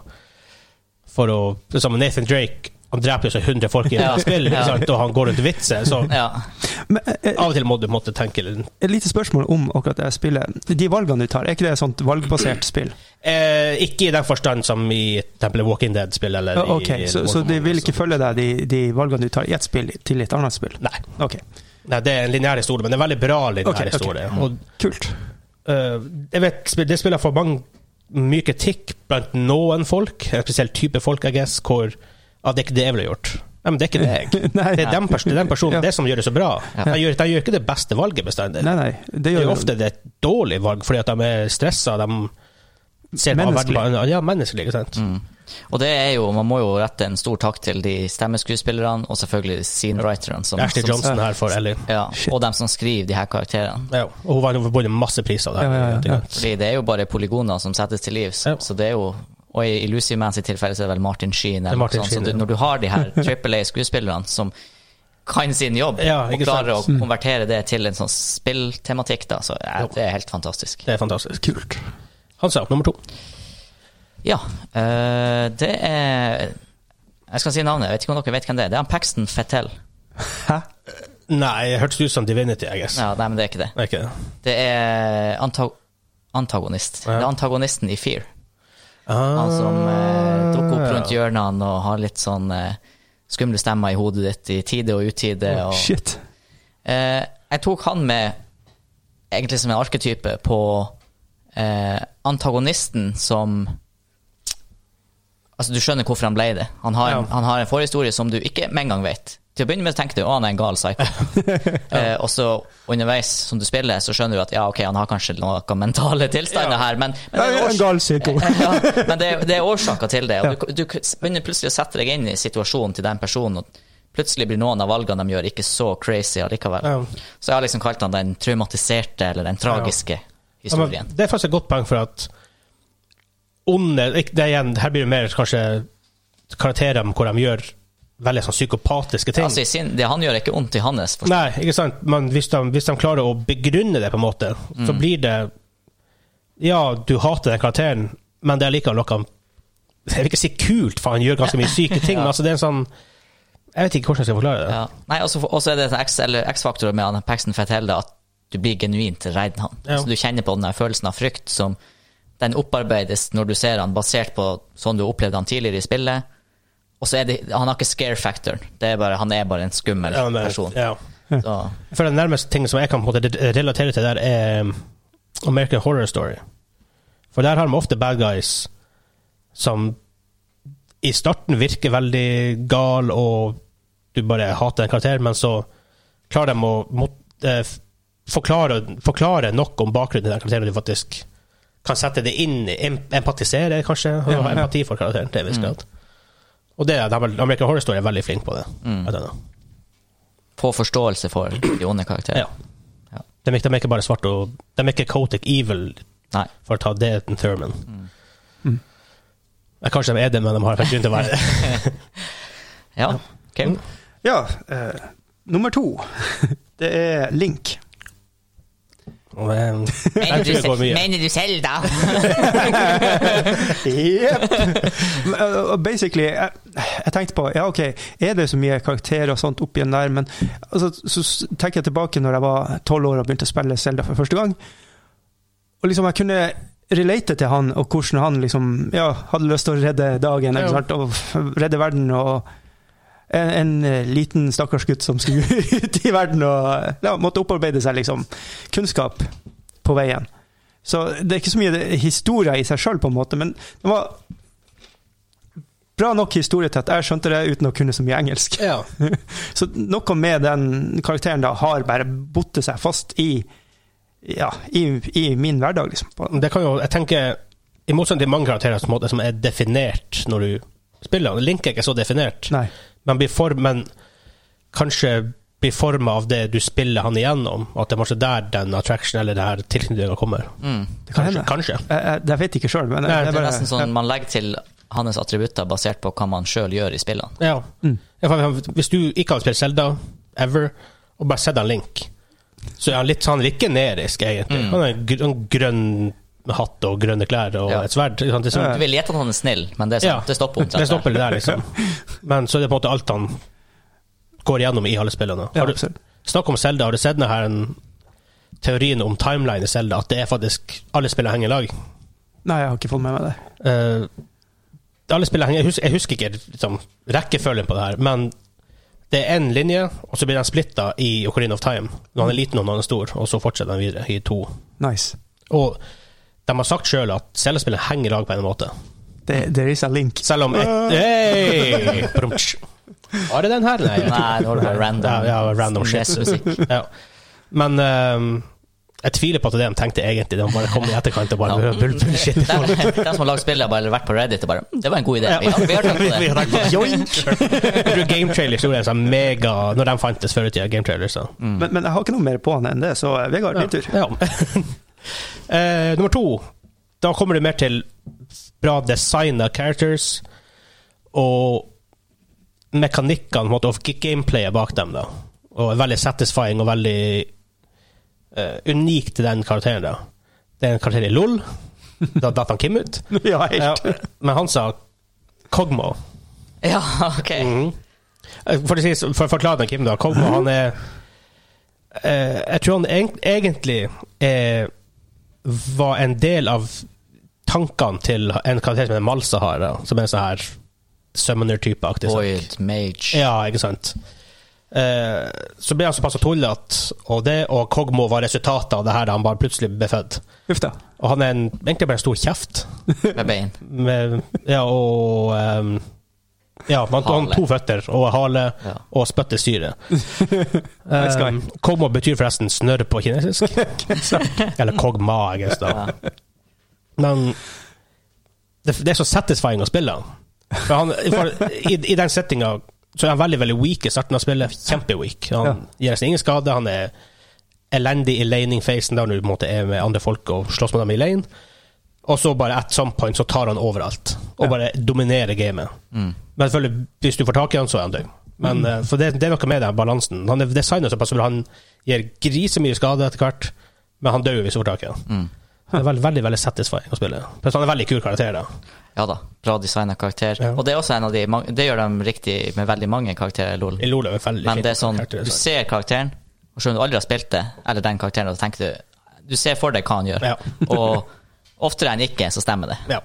For å liksom Nathan Drake han dreper jo så 100 folk i et Ja. spill, ikke Ja. sant? og han går rundt og vitser. Så Ja. Men eh, av og til må du måtte tenke litt. et lite spørsmål om akkurat det spillet. De valgene du tar, er ikke det et sånt valgbasert spill? Eh, ikke i den forstand som i tempelet Walking Dead-spill. eller Ja, Ok, i, Så, så de vil ikke så- følge deg, de, de valgene du tar i ett spill, til et annet spill? Nei. Ok, Nei, det er en lineær historie, men det er en veldig bra lineær Ok, Mm. ok. historie. Og kult. Eh, jeg vet, sp- det spiller for mange mye kritikk blant noen folk, en spesiell type folk, I guess, hvor ah, det er ikke det jeg ville gjort. Nei, men det er ikke det jeg. Nei. Det er den, pers det er den personen, Ja. det som gjør det så bra. Ja. De, gjør, de gjør ikke det beste valget bestandig. Nei, nei, det Det gjør er jo jo ofte det er et dårlig valg, fordi at de er stressa. De ser på Menneskelig. verden på en- Ja, menneskelig, ikke sant. Mm. Og det er jo Man må jo rette en stor takk til de stemmeskuespillerne, og selvfølgelig scenewriterne, som, Ashley som Johnson her for Ellie. ja, Shit. og dem som skriver de her karakterene. Ja, og hun vant- hun vant masse priser. Der, Ja, ja, ja. ikke sant? Fordi det er jo bare polygoner som settes til liv. Så, Ja. så det er jo Og i, i Lucy Man sitt tilfelle så er det vel Martin Sheen. Eller Martin noe sånt. Sheen, så ja. du, når du har de her Triple A-skuespillerne som kan sin jobb, Ja, og ikke sant? Mm. klarer å konvertere det til en sånn spilltematikk, da, så er, det er helt fantastisk. Det er fantastisk. Kult. Hansa, nummer to. Ja, øh, det er Jeg skal si navnet, jeg vet ikke om dere vet hvem det er. Det er han Paxton Fettel. Hæ? Nei, det hørtes ut som Divinity, I guess. Ja, nei, men det er ikke det. Er ikke det? Det er anta antagonist. Ja. Det er antagonisten i Fear. Ah, Han som eh, dukker opp ja. rundt hjørnene og har litt sånn eh, skumle stemmer i hodet ditt i tide og utide. Og, Shit. Eh, jeg tok han med egentlig som en arketype på eh, antagonisten som Altså, du skjønner hvorfor han ble det. Han har, en, Ja. han har en forhistorie som du ikke med en gang vet. Til å begynne med tenkte du å, han er en gal psycho. eh, og så underveis som du spiller, så skjønner du at ja, ok, han har kanskje noen mentale tilstander Ja. her, men, men Nei, det er en gal psyko. ja, men det, er- det er årsaker til det. Og du, du begynner plutselig å sette deg inn i situasjonen til den personen, og plutselig blir noen av valgene de gjør, ikke så crazy allikevel. Ja. Så jeg har liksom kalt han den traumatiserte, eller den tragiske Ja, men historien. det er faktisk et godt poeng for at onde ikke- det er igjen, Her blir det mer kanskje karakterer om hvor de gjør veldig sånn psykopatiske ting. Altså, i sin, det han gjør, er ikke vondt i hans. forstå. Nei, ikke sant? Men hvis de, hvis de klarer å begrunne det, på en måte, så Mm. blir det Ja, du hater den karakteren, men det er likevel noe han- Jeg vil ikke si kult, for han gjør ganske mye syke ting, men altså, det er en sånn Jeg vet ikke hvordan jeg skal forklare det. Ja. Nei, og så- og så er det en X- eller X-faktor med han Paxton Fettel, da, at du blir genuint redd han. Ja. Så du kjenner på den der følelsen av frykt som den opparbeides når du ser han, basert på sånn du opplevde han tidligere i spillet. Og så er det, han har ikke scare factoren. Det er bare, han er bare en skummel Ja, men- person. ja. Så, For den nærmeste ting som jeg kan på en måte relatere til der, er um, American Horror Story. For der har de ofte bad guys som i starten virker veldig gal, og du bare hater en karakter, men så klarer de å mot, eh, f- forklare, forklare nok om bakgrunnen til den karakteren du faktisk kan sette det inn i. Em- Empatisere, kanskje. og Ja, ha ja. empati for karakteren. til en viss grad. Og det, er- de, er- American Horror Story er veldig flink på det. Mm. Jeg tror det. Få forståelse for de onde karakterene. Ja. De, er ikke- de er ikke bare svart og De er ikke Cotic Evil, Nei. for å ta det til Thurman. Mm. Ja, Kanskje de er det, men de har ikke grunn til å være det. Ja. Kim? Ja, eh, nummer to. Det er Link. Og, eh, Jeg tror det går mye. du selv, da? Jepp. Men, eh, og Basically, jeg, jeg tenkte på ja, ok, er det så mye karakterer og sånt opp igjen der, men altså, så s- tenker jeg tilbake når jeg var tolv år og begynte å spille Zelda for første gang. Og liksom, jeg kunne relate til han, og hvordan han liksom, ja, hadde lyst til å redde dagen, Ja. ikke sant, og f- redde verden, og en, en eh, liten stakkars gutt som skulle ut i verden og eh, ja, måtte opparbeide seg liksom kunnskap på veien. Så det er ikke så mye det- historie i seg sjøl, på en måte, men det var bra nok historie til at jeg skjønte det uten å kunne så mye engelsk. Ja. Så noe med den karakteren da har bare bodd seg fast i ja, i, i min hverdag, liksom. På- Det kan jo, jeg tenker I motsetning til mange karakterer som, på en måte, som er definert når du spiller han. Link er ikke så definert, Nei. men, blir form, men kanskje blir forma av det du spiller han igjennom. At det er kanskje der den attraction eller det her tilknytninga kommer. Mm. Det kan Kanskje. hende. kanskje. Jeg, jeg, jeg vet ikke sjøl, men Nei, jeg, det Det jeg er bare, nesten sånn man legger til hans attributter basert på hva man sjøl gjør i spillene. Ja. Mm. Ja, for Hvis du ikke har spilt Zelda ever, og bare sett han Link, så er han litt sånn litt generisk, egentlig. Mm. Han har en gr- en grønn hatt og grønne klær og Ja. et sverd. ikke sant? Det er sånn, Du vil gjette at han er snill, men det, er Ja. sånn, det stopper omtrent Det stopper det der, liksom. Men så er det på en måte alt han går igjennom i alle spillene. ja, Har du, absolutt. snakk om Zelda, har du sett denne her, en- teorien om timeline i Zelda? At det er faktisk alle spillene henger i lag? Nei, jeg har ikke fått med meg det. Eh, alle spillene henger, jeg, husker, jeg husker ikke liksom, rekkefølgen på det her, men det er én linje, og så blir den splitta i Ocarina of Time. Når han er liten og når han er stor, og så fortsetter den videre i to. Nice. Og de har sagt sjøl at Zelda-spillene henger i lag på en måte. Det, there is a link. Selv om et, Ah. hey! Brumtsj. Var det den her? Nei, Nei, det var bare Ja, random. ja, random shit. Nesmusikk. Ja. Men ehm, jeg tviler på at det er de tenkte egentlig. De bare kom i etterkant og bare Ja. bull, bullshit. De, de som har lagd spillet, har bare vært på Reddit og bare "Mm, Det var en god idé. Vi har, vi har tenkt på det. Jeg tror Game Trailers gjorde en sånn mega Når de fantes før i tida, Game Trailers. Så. Men, men jeg har ikke noe mer på han enn det, så eh, Vegard, Mm. din tur. Ja. Eh, nummer to. Da kommer du mer til bra design av characters og mekanikkene på en måte, og gameplayet bak dem. da. Og er veldig satisfying og veldig eh, unik til den karakteren. da. Det er en karakter i LOL. Da datt han Kim ut. Ja, Ja, helt. men han sa Kogmo. Ja, ok. Eh, For, å si, for å forklare den Kim, da. Kogmo, han er eh, Jeg tror han eng- egentlig eh, var en del av tankene til en karakter som heter Malsahara, som er en sånn her summoner-type-aktig. sak. Void, Mage Ja, ikke sant. Eh, så ble han såpass tullete, og det, og Kogmo var resultatet av det her da han bare plutselig ble født. Uff da. Og han er en, egentlig bare en stor kjeft. med bein. med, ja, og ehm, Ja, man han Hale. to føtter og hale Ja. og spytter syre. Nice guy. Um, Kogmo betyr forresten snørr på kinesisk. Eller kogma, jeg guess, da. Men det, det er så satisfying å spille. For han, for, i, I den settinga så er han veldig veldig weak i starten av spillet. Kjempeweak. Han gir nesten ingen skade. Han er elendig i laning-facen, der du på en måte er med andre folk og slåss med dem i lane. Og så bare at some point så tar han overalt, og Ja. bare dominerer gamet. Men selvfølgelig, hvis du får tak i han, så er han død. Men, eh, For det, det er noe med den balansen. Han er designet såpass bra. Han gir grisemye skade etter hvert, men han dør hvis du får tak i han. Det er veldig, veldig veldig satisfying å spille. Pluss han er en veldig kul karakter, da. Ja da. Bra designa karakter. Ja. Og det er også en av de mang- Det gjør de riktig med veldig mange karakterer i LOL. I Lola er en veldig Men fin det er sånn, karakter, du så- ser karakteren, og selv om du aldri har spilt det, eller den karakteren, og så tenker du Du ser for deg hva han gjør, Ja. og oftere enn ikke, så stemmer det. Ja.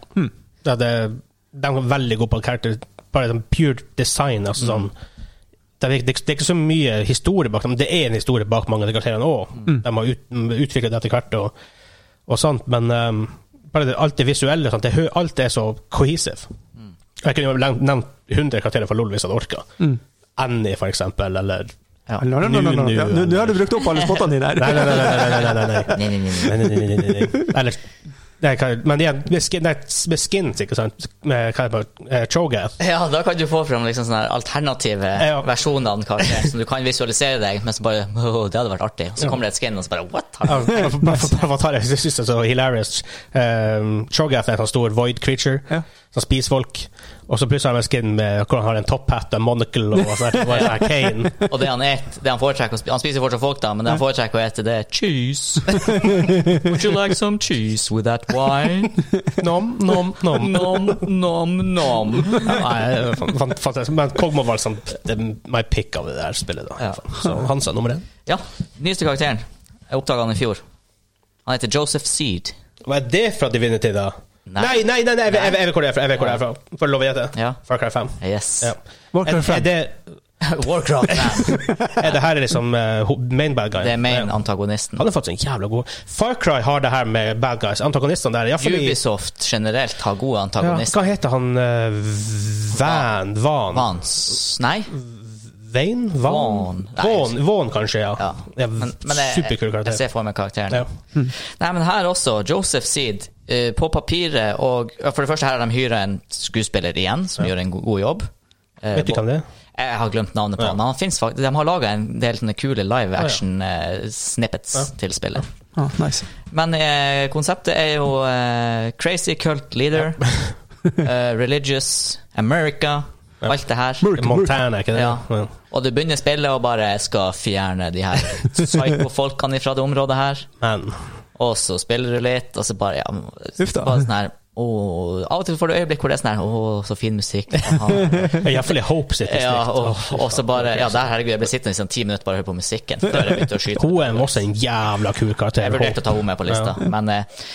ja det, de er veldig gode på character. Bare sånn pure design. Altså sånn, det, er, det, det er ikke så mye historie bak dem. Det er en historie bak mange av de karakterene òg. De har ut, utviklet det etter hvert, og, og sånt. Men um, bare det, alt det visuelle og sånt, det, hø- Alt er så cohesive. Hmm. Jeg kunne jo nevnt 100 karakterer fra LOL hvis jeg hadde orka. Annie, for eksempel, eller Ja. Nei, nei, nei, nei, nei. Ja, Nå nå har du brukt opp alle spottene dine Nei, her. nei, nei. nei, nei, nei, nei, nei. Nei, Nei, nei, nei, nei. nei, nei, nei, nei, nei. Eller nei, hva- Men igjen, med, skin, nei, med skins, ikke sant? Med hva er det, eh, Cho'Gath. Ja, da kan du få fram liksom sånne her alternative Ja. versjonene, kanskje, som du kan visualisere deg, men så bare «Åh, Det hadde vært artig. Og så kommer det et skin, og så bare What? Ja, bare for- bare for å ta det, Jeg synes det er så hilarious. Um, Cho'Gath er en sånn stor void creature Ja. som spiser folk. Og så plutselig har han en skin med hvor han har en topphatt og monocle og sånn. her, bare sånn her Kane. Og det han et, det han foretrekker å spi- Han spiser fortsatt folk, da, men det han foretrekker å ete, det er cheese. Would you like some cheese with that wine? Nom, nom, nom. Nom, nom, nom. Nei, det er fan- fan- fantastisk. Men Kogmo var liksom det er my pick av det der spillet. da Ja. Så Hansa nummer én. Ja, nyeste karakteren. Jeg oppdaga han i fjor. Han heter Joseph Seed. Hva er det fra Divinity, da? Nei. Nei, nei, nei, nei, jeg, vet- jeg, vet- jeg vet hvor det er fra. Jeg vet hvor det er fra For lov å gjette. Ja. Far Cry 5. Yes. Ja. Warcraft Er, er, 5. det, Warcraft. man. er det her liksom eh, ho- main bad guy? Det er main Ja. antagonisten. Han har fått en jævla god Far Cry har det her med bad guys. Antagonistene der. i hvert fall i- Ubisoft generelt har gode ja, antagonister. hva heter han eh, Van Van? Vans Nei? Vane? Van? Van. Nei, Vaughn, Vaughn kanskje, ja. Ja. ja Men, men jeg, Superkul jeg karakter. ser for meg karakteren. Ja. Hm. Nei, men her også. Joseph Seed. eh, på papiret og ja, For det første, her har de hyra en skuespiller igjen, som gjør en go god jobb. Eh, Vet du hvem det er? Jeg har glemt navnet på han. han. finnes fakt- De har laga en del sånne kule live action eh, snippets til spillet. Ja, Ah, nice. Men eh, konseptet er jo eh, crazy cult leader, eh, religious, America, alt det her. Montana, ikke det? Ja. Ja. Og du begynner spillet og bare skal fjerne de her psyko-folkene fra det området her. Men Og så spiller du litt, og så bare ja, Uff da. Bare sånn her, «Åh». Av og til får du øyeblikk hvor det er sånn her Å, så fin musikk. aha». Iallfall i Hope sitt distrikt. Ja, og, og så bare Ja, der, herregud, jeg ble sittende i sånn ti minutter bare og høre på musikken før jeg begynte å skyte. Hun er også en jævla kul karakter. Jeg vurderte å ta henne med på lista, men eh,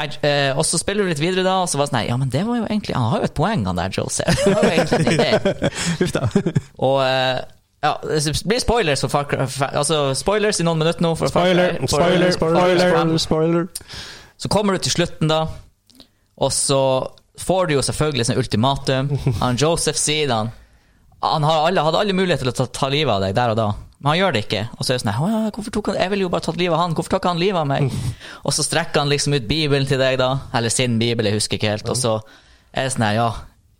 jeg, eh, Og så spiller du litt videre, da, og så var det sånn her Ja, men det var jo egentlig Han har jo et poeng, han der Joseph. Han har jo egentlig en idé. Uff da. Og eh, ja, det blir spoilers for Far Cry fa- Altså spoilers i noen minutter nå. For Far Cry- Spoiler, for- spoiler, Spoiler, spoiler. Så kommer du til slutten, da, og så får du jo selvfølgelig sin ultimatum. Han Joseph sier han Han har alle, hadde alle muligheter til å ta, ta livet av deg der og da, men han gjør det ikke. Og så er det sånn her, «Å ja, hvorfor tok han, Jeg ville jo bare tatt livet av han, hvorfor tok han livet av meg? Og så strekker han liksom ut Bibelen til deg, da, eller sin bibel, jeg husker ikke helt, og så er det sånn her, ja.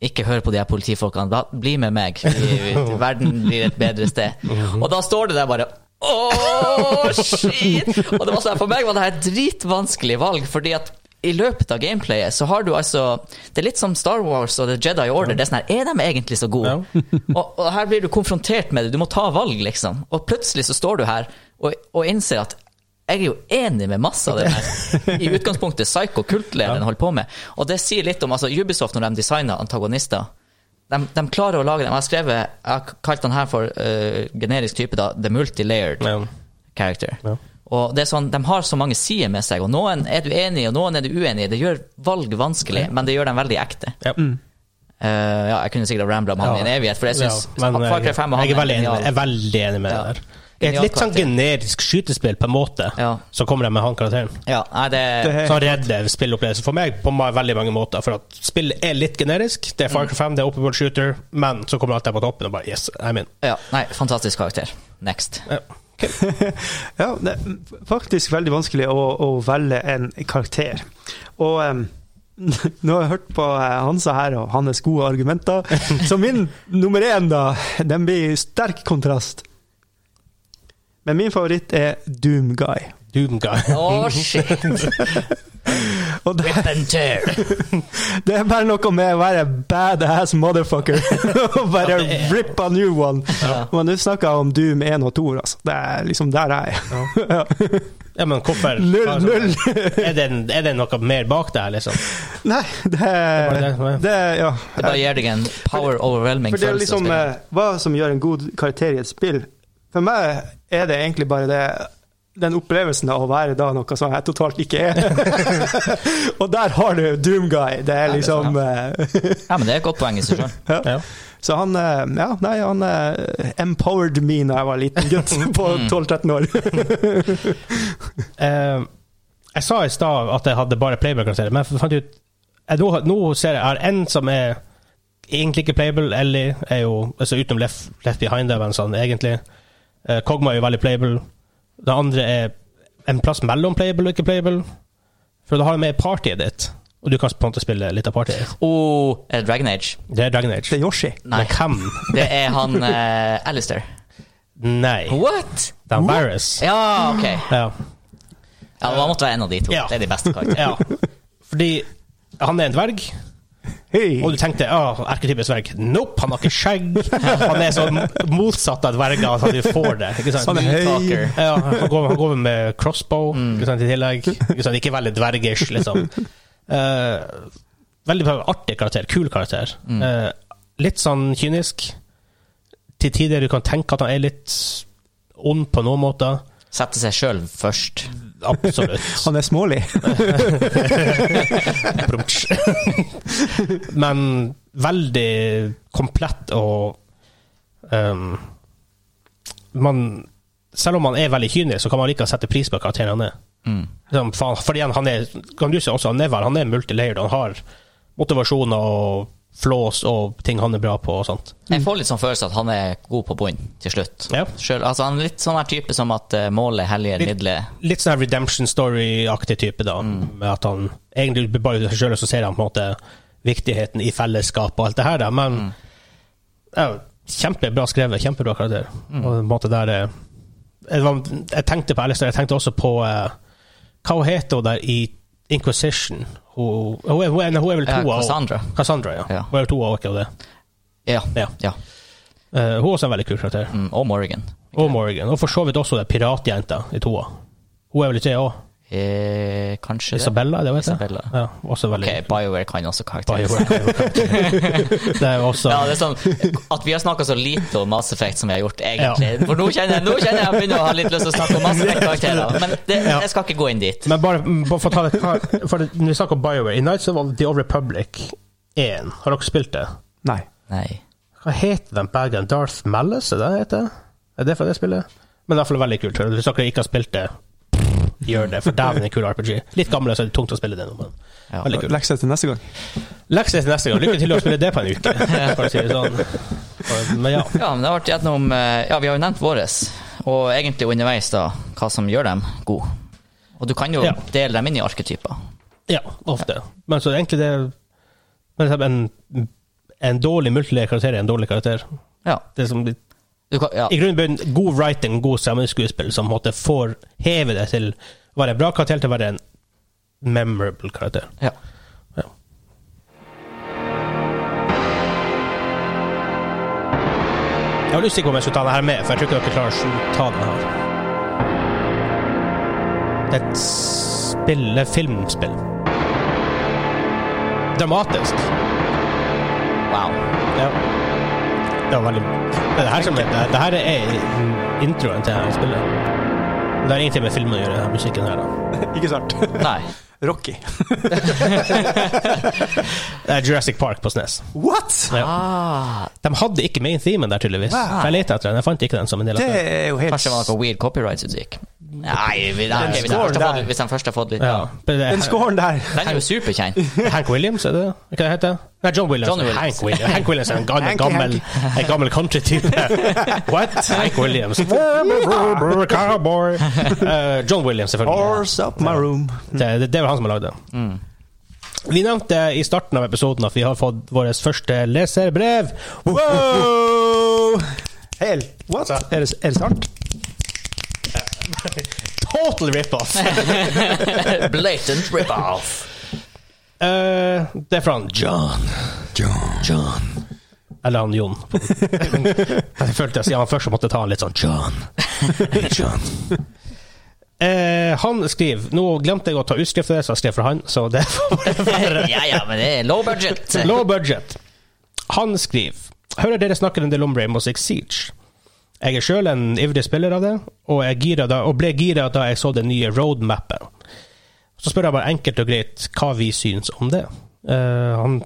Ikke hør på de her politifolkene. Da, bli med meg. Vi- vi- Verden blir et bedre sted. Og da står du der bare Åh, shit! Og det var sånn, For meg var det her et dritvanskelig valg, fordi at i løpet av gameplayet så har du altså Det er litt som Star Wars og The Jedi Order. Det Er sånn her, er de egentlig så gode? og, og her blir du konfrontert med det. Du må ta valg, liksom. Og plutselig så står du her og, og innser at jeg er jo enig med masse av det her. I utgangspunktet psycho-kultlederen holder på med. Og det sier litt om altså Ubisoft, når de designer antagonister de, de klarer å lage dem. Jeg har skrevet Jeg har kalt den her for eh, generisk type, da. The multilayered Ja. character. Ja. Og det er sånn, De har så mange sider med seg, og noen er du enig i, og noen er du uenig i. Det gjør valg vanskelig, men det gjør dem veldig ekte. Ja. Eh, ja, Jeg kunne sikkert ha rambla om han i en evighet, for jeg syns Mm, Ja, men Far Cry jeg, 5 og han jeg, er veldig enig, genial. jeg er veldig enig med Ja. det der. Det er Et litt sånn Genial generisk skytespill, på en måte, Ja. så kommer de med han karakteren. Ja, nei, det, Det er- Så han redder spillopplevelsen for meg på ma- veldig mange måter. For at spillet er litt generisk. Det er Mm. Far Cry 5, det er open world shooter, men så kommer alt der på toppen, og bare yes, I'm in. ja, nei, fantastisk karakter. Next. Ja. Ja, det er faktisk veldig vanskelig å, å velge en karakter. Og em, nå har jeg hørt på eh, Hansa her og hans gode argumenter, så min nummer én, da, den blir i sterk kontrast. Men min favoritt er Doom Guy. Doom guy. Å, shit! Og det, Rip and tear. det er bare noe med å være badass motherfucker og bare Ja, det er- rip a new one. Men nå snakker jeg om Doom 1 og 2, altså. Det er liksom der jeg er. Ja, men hvorfor Null, null. Er det, en- er det noe mer bak det her, liksom? Nei, det er, Det var det, det er Ja. Det bare gir deg en power overwhelming For det er følelse. av liksom spillet. eh, hva som gjør en god karakter i et spill. For meg er det egentlig bare det den opplevelsen av å være da noe som jeg totalt ikke er. og der har du Doomguy. Det er liksom eh, Ja, men det er et godt poeng i seg sjøl. Ja. Så han eh, Ja, nei, han eh, empowered me da jeg var liten gutt på 12-13 år. Eh, jeg sa i stad at jeg hadde bare playable-karakterer, men jeg fant ut jeg, nå, nå ser jeg jeg har en som er sånn, egentlig ikke playable. Ellie er jo altså utenom Left, left Behind-evensene, egentlig. Eh, Kogma er jo veldig playable. Det andre er en plass mellom playable og ikke playable. For da har du med partyet ditt, og du kan på en måte spille litt av partyet. Oh, er det Dragon Age? Det er Dragon Det Age. er Yoshi. Nei. Men hvem? Det er han eh, Alistair. Nei. What?! Det er Varys. Ja, OK. Ja. Ja, det måtte være en av de to. Ja. Det er de beste karakterene. ja. Fordi han er en dverg. Hei. Og du tenkte ja, erketypisk dverg. Nope, han har ikke skjegg. Han er så motsatt av dverger at han ikke får det. Ikke sant? Sånn, Han er høy. Talker. Ja, han går, han går med crossbow ikke sant, i tillegg. Ikke, sant? ikke veldig dvergish, liksom. Eh, veldig artig karakter. Kul karakter. Eh, litt sånn kynisk. Til tider du kan tenke at han er litt ond på noen måter. Sette seg sjøl først. Absolutt. Han er smålig. Prompt. Men veldig komplett og ehm, man, Selv om man er veldig kynisk, så kan man likevel sette pris på karakteren han er. Mm. Liksom, faen, fordi han, han er kan du si også, han er, vel- han er multilayered. Han har motivasjoner og flås og ting han er bra på og sånt. Jeg får litt sånn følelse at han er god på bunnen til slutt. Mm. Ja. Selv, altså Han er litt sånn her type som at eh, målet helliger Litt- middelet. Litt sånn her redemption story-aktig type, da. Mm. Med at han egentlig bebaider seg sjøl, og så ser han på en måte viktigheten i fellesskap og alt det her, da. Men Mm. ja, kjempebra skrevet, kjempebra karakter. Mm. Og på en måte der eh, jeg, var- jeg tenkte på Alistair, jeg tenkte også på eh, Hva hun heter hun der i Inquisition? Hun, hun, er, hun, er, hun er vel Ja, to av Cassandra. Cassandra, ja. Ja. Hun er vel to av ikke hun det. Ja. Ja. ja. Eh, hun er også en veldig kul karakter. Mm, og Morgan. Og Morgan. Og for så vidt også den piratjenta i toa. Hun er vel i tre òg? Eh, kanskje det. Isabella, er det vet jeg. Isabella. Ja, også veldig Ok, BioWare kan også karakterer. Bioware. Det er også Ja, det er sånn At vi har snakka så lite om Mass Effect som vi har gjort, egentlig. For nå kjenner jeg nå kjenner jeg jeg begynner å ha litt lyst til å snakke om Mass Effect-karakterer. Men det, Ja. jeg skal ikke gå inn dit. Men bare, mm, bare for å ta det hva- for det- Når vi snakker om BioWare I Nights of the Old Republic 1 Har dere spilt det? Nei. Nei. Hva heter den bagen? Darth Malice, er det det heter? Er det fra det spillet? Men det er i hvert fall veldig kult. så Hvis dere ikke har spilt det, gjør det. For dæven, en kul RPG. Litt gamle, så er det tungt å spille det nå, men Ja. veldig kult. Lekser til neste gang. Lekse til neste gang. Lykke til å spille det på en uke, for å si det sånn. Men ja. Ja, men det har vært gjennom eh, Ja, vi har jo nevnt våres, og egentlig underveis, da, hva som gjør dem gode. Og du kan jo Ja. dele dem inn i arketyper. Ja, ofte. Men så egentlig det men en, en dårlig multilayer karakter er en dårlig karakter. Ja. Det er som, I Du kan, ja. grunnen bunn, god writing, god sammenskuespill som på en måte får heve det til å være en bra karakter til å være en memorable karakter. ja. Ja. Jeg var usikker på om jeg skulle ta det her med, for jeg tror ikke dere klarer å ta den her. Det er et spill, det er et filmspill. Dramatisk. Wow. Ja. Det var veldig Det er det her som er Det her er introen til dette spillet. Det har ingenting med filmen å gjøre, denne musikken her. da. Ikke sant? Nei. Rocky. Det er Jurassic Park på SNES. What?! Ja. Ah, De hadde ikke main themen der, tydeligvis. Nei. For Jeg leta etter den, jeg fant ikke den som en del av Det spillet. er jo helt kanskje det var noe weird copyright som gikk? Nei, vi, nei Den ok, hvis, den scoren først har der. fått, hvis den først har fått litt ja. Ja. Det er Den scoren der. Den er jo superkjent. Hank Williams, er det det Hva heter det? Nei, John Williams. John Williams. Hank, Williams. Hank Williams er en gammel, Hanky, gammel, en gammel country-type. What? Hank Williams. Cowboy. Eh, John Williams, selvfølgelig. Horse up my room. Det, det, det er vel han som har lagd det. Vi nevnte i starten av episoden at vi har fått vårt første leserbrev. Wow! Hell, what? Altså. Er det, er det sant? Total rip-off! Blatant rip-off. Eh, det er fra han John. John. Eller han Jon. jeg følte jeg siden han først så måtte jeg ta han litt sånn John. Hey, John. Eh, han skriver Nå glemte jeg å ta utskrift av det, så jeg skrev for han. Så det får være ja, ja, men det er low budget. Low budget. Han skriver Hører dere snakker en del om Rainbow Six Siege. Jeg er sjøl en ivrig spiller av det, og, jeg gira da, og ble gira da jeg så den nye roadmappen. Så spør jeg bare enkelt og greit hva vi syns om det. Eh, han,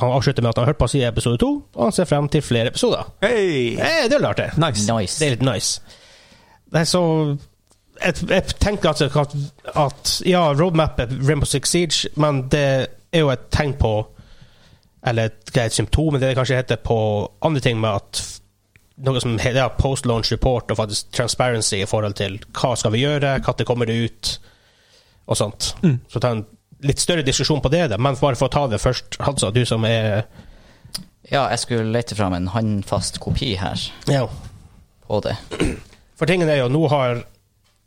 han avslutter med at han har hørt på oss i episode to, og han ser frem til flere episoder. Hei! Eh, det er jo artig. Nice. Det Nice. er litt nice. Det er så jeg, jeg tenker altså at, at Ja, roadmap er Rainbow Six Siege, men det er jo et tegn på Eller et greit symptom, men det det kanskje heter, på andre ting med at noe som heter ja, post-launch report og faktisk transparency i forhold til hva skal vi gjøre, når kommer det ut, og sånt. Så ta en litt større diskusjon på det, da. men bare for å ta det først, Hansa, du som er Ja, jeg skulle lete fram en håndfast kopi her ja. på det. For tingen er jo, nå har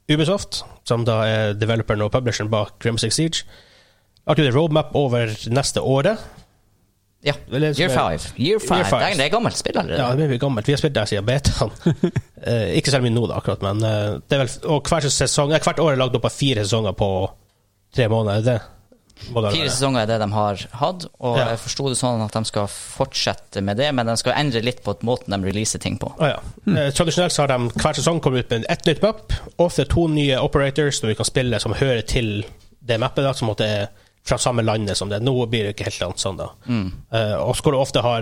Ubisoft, som da er developeren og publisheren bak Grim Six Siege, lagt ut en roadmap over neste året. Ja. Vel, det som Year er- five. Year five. five. Det er- Det er gammelt spill allerede. Ja, det blir gammelt. Vi har spilt der siden betaen. Eh, ikke så mye nå, da, akkurat, men eh, det er vel, og hver sesong, eh, hvert år er lagd opp av fire sesonger på tre måneder. Det må det Fire være. sesonger er det de har hatt, og Ja. jeg forsto det sånn at de skal fortsette med det, men de skal endre litt på måten de releaser ting på. Ah, ja. Eh, tradisjonelt så har de hver sesong kommet ut med ett nytt map, ofte to nye operators som vi kan spille som hører til det mappet, da, som måtte er fra samme landet som det. Nå blir det ikke helt annet sånn, da. Hmm. Eh, og så hvor det ofte har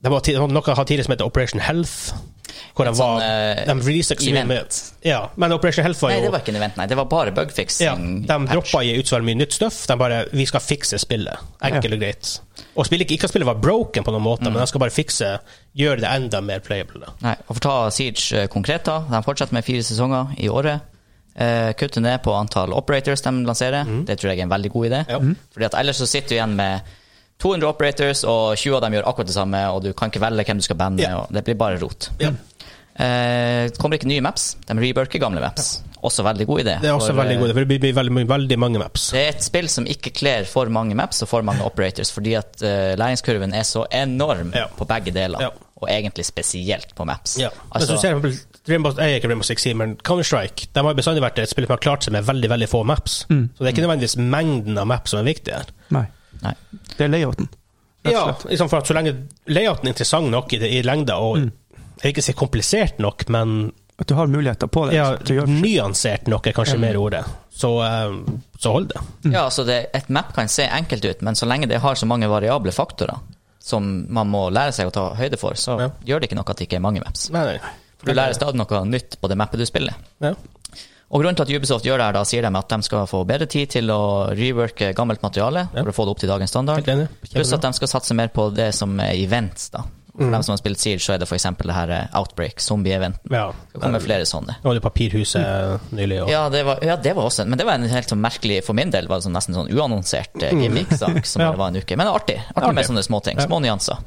de har ti- de har noe har tidligere som heter Operation Health. Hvor de Et var sånn, eh, de releaset ikke så mye event. med Ja, men Operation Health var jo Nei, det var ikke en event, nei. Det var bare Ja, bugfixing. de patch. droppa i ut så veldig mye nytt stuff. De bare Vi skal fikse spillet. Enkelt og greit. Og spillet, ikke- ikke at spillet var broken på noen måte, Mm. men de skal bare fikse Gjøre det enda mer playable. da. Nei, og for å ta Siege eh, konkret, da. De fortsetter med fire sesonger i året. Eh, kutter ned på antall operators de lanserer. Det tror jeg er en veldig god idé. Mm. Ja. Fordi at ellers så sitter du igjen med 200 operators, og 20 av dem gjør akkurat det samme, og du kan ikke velge hvem du skal banne, Ja. og det blir bare rot. Ja. Eh, det kommer ikke nye maps. De reburker gamle maps. Også veldig god idé. Det er også For, veldig eh, god. Det blir- blir veldig, veldig mange maps. Det er et spill som ikke kler for mange maps og for mange operators, fordi at eh, læringskurven er så enorm Ja. på begge deler, Ja. og egentlig spesielt på maps. Ja. Altså, Hvis du ser for eksempel Rainbow, jeg er ikke Rainbow Six Siege, men Counter-Strike De har jo bestandig vært et spill som har klart seg med veldig veldig få maps. Mm. Så det er ikke nødvendigvis mengden av maps som er viktig her. Nei. nei. Det er layouten. rett og Ja, slett. liksom for at så lenge layouten er interessant nok i, det- i lengda, og Mm. jeg vil ikke si komplisert nok, men At du har muligheter på det. Ja, Mm. så gjør det. nyansert nok er kanskje mer ordet. Så, eh, så hold det. Ja, altså det, et map kan se enkelt ut, men så lenge det har så mange variable faktorer som man må lære seg å ta høyde for, så Ja. gjør det ikke noe at det ikke er mange maps. Nei, nei. For du lærer stadig noe nytt på det mappet du spiller. Ja. Og grunnen til at Ubisoft gjør det her, da sier de at de skal få bedre tid til å reworke gammelt materiale for å få det opp til dagens standard. Helt enig. Pluss at de skal satse mer på det som er events, da. For Mm. dem som har spilt Siege, så er det f.eks. det her eh, Outbreak, zombie-eventen. ja. Det kommer flere sånne. Og det papirhuset nylig. Og. Mm. Ja, det var, ja, det var også en- Men det var en helt sånn merkelig For min del var det sånn, nesten sånn uannonsert eh, gimmick-sak som Mm. Ja. bare var en uke. Men det er artig. Artig med sånne småting. Små nyanser.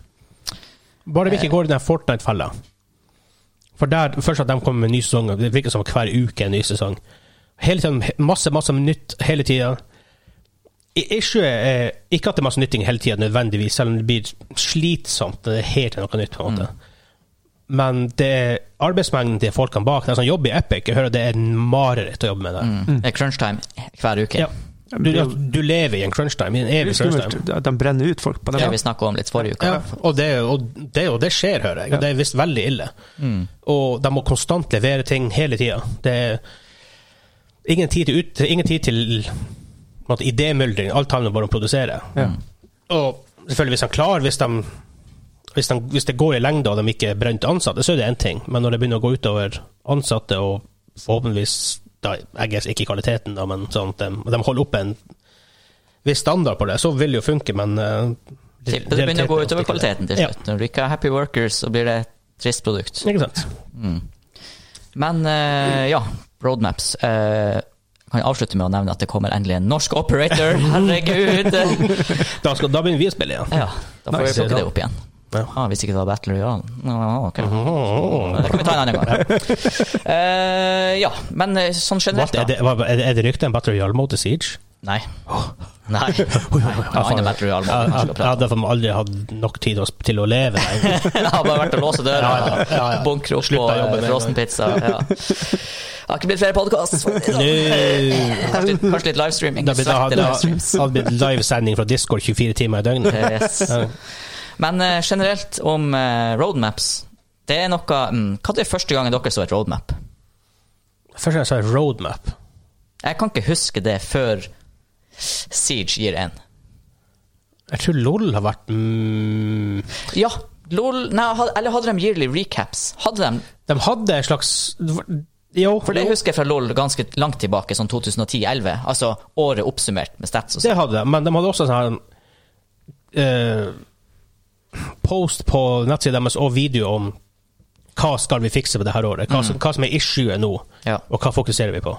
Bare vi ikke går i den Fortnite-fella. For der, først at de kommer med en ny sesong, og det virker som hver uke er en ny sesong. Hele tiden, Masse, masse nytt hele tida. Issue er ikke at det er masse nytting hele tida, nødvendigvis, selv om det blir slitsomt. når Det er helt noe nytt, på en måte. Mm. Men det er arbeidsmengden til folkene bak, de som jobber i Epic, jeg hører det er en mareritt å jobbe med det. Mm. Mm. Det er crunch time hver uke. Mm. Ja. Du, du lever i en crunchtime, i en Det er evig skummelt. crunchtime. De brenner ut folk på det. Det vi snakka om litt forrige uke. Ja, og det, og, det, og det skjer, hører jeg. Og det er visst veldig ille. Og de må konstant levere ting hele tida. Det er ingen tid til, ut, ingen tid til på en måte, idémyldring. Alt handler bare om å produsere. Ja. Og selvfølgelig, hvis de klarer hvis, de, hvis, de, hvis det går i lengde og de ikke er brent ansatte, så er det én ting. Men når det begynner å gå utover ansatte, og forhåpentligvis da, jeg guess ikke kvaliteten, da, men sånn at de, de holder oppe en viss standard på det, så vil det jo funke, men eh, Tipper det begynner å gå realiteten er ofte utover ikke det. kvaliteten til Ja. slutt. Når du ikke har happy workers, så blir det et trist produkt. Ikke sant? Men eh, ja, roadmaps. Eh, kan jeg avslutte med å nevne at det kommer endelig en norsk operator. Herregud! Da, skal, da begynner vi å spille igjen. ja, da får vi Nice. plukke det opp igjen. Ja. Ah, hvis ikke det var Battle Royale. Nå, ok. Åh. Det kan vi ta en annen gang. Eh, ja, men eh, sånn What, generelt, er, da. det, hva- er det- er det rykte en Battle Royale mot The Siege? Nei. Nei. Nei. Det var andre Battle Royale. Jeg man skulle jeg- jeg prate om. hadde for meg aldri hatt nok tid å sp- til å leve. nei. Det har bare vært å låse døra, bunkre opp på Slutt å jobbe med en gang. frossenpizza. Ja. Det har ikke blitt flere podkast. Nå. Kanskje, kanskje litt livestreaming. Da blir- da hadde Svette livestreams. det hadde blitt livesending fra Discord 24 timer i døgnet. Yes. Men eh, generelt om eh, roadmaps Det er noe mm, Hva er første gangen dere så et roadmap? Først og fremst er det roadmap. Jeg kan ikke huske det før Siege gir en. Jeg tror LOL har vært mm, Ja, lol nei, had- Eller hadde de yearly recaps? Hadde de? De hadde en slags Jo, For det jo, husker jeg fra LOL ganske langt tilbake, sånn 2010-11. Altså året oppsummert med stats. Og det sånn. hadde de. Men de hadde også sånn her eh, post på nettsida deres og video om hva skal vi fikse på det her året? Mm. Hva, som- hva som er issuet nå, Ja. og hva fokuserer vi på?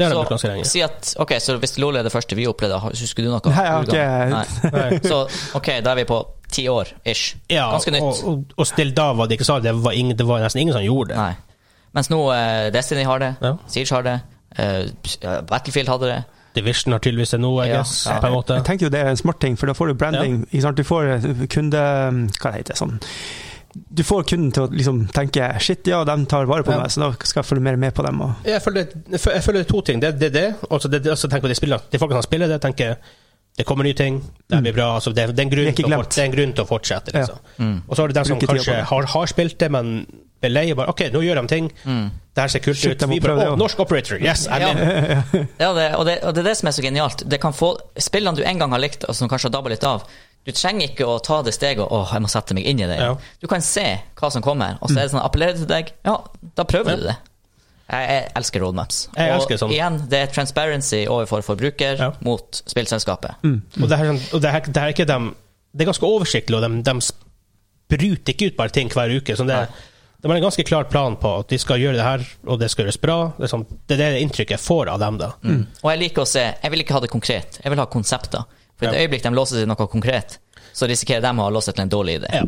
Det har jeg brukt ganske Så, lenge. si at, ok, så hvis LOL er det første vi opplevde, har- husker du noe? Nei, jeg har ikke- Nei. Nei. Så ok, da er vi på ti år, ish. Ja, Ganske nytt. Og, og, og til da var det ikke sånn. Det var, ingen, det var nesten ingen som gjorde det. Nei. Mens nå eh, Destiny har det, Ja. Siege har det, eh, ja, Battlefield hadde det. Division har tydeligvis det nå, I Ja, guess. ja. på en måte. Jeg tenker jo det er en smart ting, for da får du branding. Ikke sant? Du får eh, kunde... Hva det heter sånn Du får kunden til å liksom tenke shit, ja, de tar vare på Ja. meg, så da skal jeg følge mer med på dem. Og, Jeg føler, jeg føler- jeg føler det er to ting. Det er det, det, og så det, det, og så tenker jeg de, spiller, de folkene som spiller det, tenker det kommer nye ting, det blir bra. Altså, det, det, er en grunn Vi Mm. er ikke til å, glemt. Mm. fort- det er en grunn til å fortsette. Liksom. Og så har du dem som Bruker tida på kanskje det. har, har spilt det, men ble lei og bare OK, nå gjør de ting. Det her ser kult Mm. Shit, ut. jeg må Vi bare, prøve det «Å, også.» norsk operator! Yes, I'm Ja. in! Ja, det, og, det, og det er det som er så genialt. Det kan få, spillene du en gang har likt, og som kanskje har dabba litt av Du trenger ikke å ta det steget og åh, jeg må sette meg inn i det. Ja. Du kan se hva som kommer, og så er det sånn, appellerer det til deg, ja, da prøver du det. Jeg, jeg elsker roadmaps. Jeg og elsker sånn. igjen, det er transparency overfor forbruker Ja. mot spillselskapet. Og det her, er sånn- og det her, det her er ikke dem Det er ganske oversiktlig, og de, spruter ikke ut bare ting hver uke. Sånn det, de har en ganske klar plan på at de skal gjøre det her, og det skal gjøres bra. Det er, sånn, det, er det inntrykket jeg får av dem, da. Mm. Mm. Og jeg liker å se Jeg vil ikke ha det konkret, jeg vil ha konsepter. For Ja. i det øyeblikk de låser til noe konkret, så risikerer de å ha låst seg til en dårlig idé. Ja.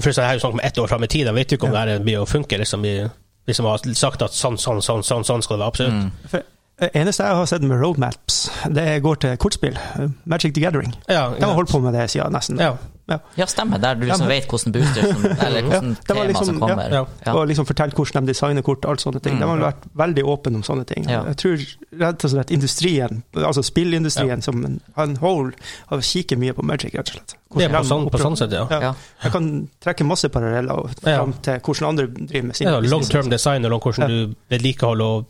For sånn, jeg har jo snakket om ett år fram i tid, de vet jo ikke om det her blir å funke. Liksom, vi, vi som har sagt at sånn, sånn, sånn, sånn, sånn skal det være absolutt. for, det eneste jeg har sett med roadmaps, det går til kortspill. Magic the Gathering. Ja, De har holdt på med det siden nesten. ja. Ja. Ja, stemmer. Der du liksom Ja, men- vet hvordan booster som, Eller hvordan det var tema liksom- som kommer. ja, ja. Ja. Og liksom fortelle hvordan de designer kort og alt sånne ting. Mm. De har vært veldig åpne om sånne ting. Ja. Jeg tror rett og slett industrien, altså spillindustrien som en, en whole, har kikker mye på Magic, rett og slett. Det er på de sånn, på oppra- sånn sett, ja. Ja. Ja. Jeg kan trekke masse paralleller Ja. fram til hvordan andre driver med sine ja long businesser. term design og hvordan du vedlikeholder og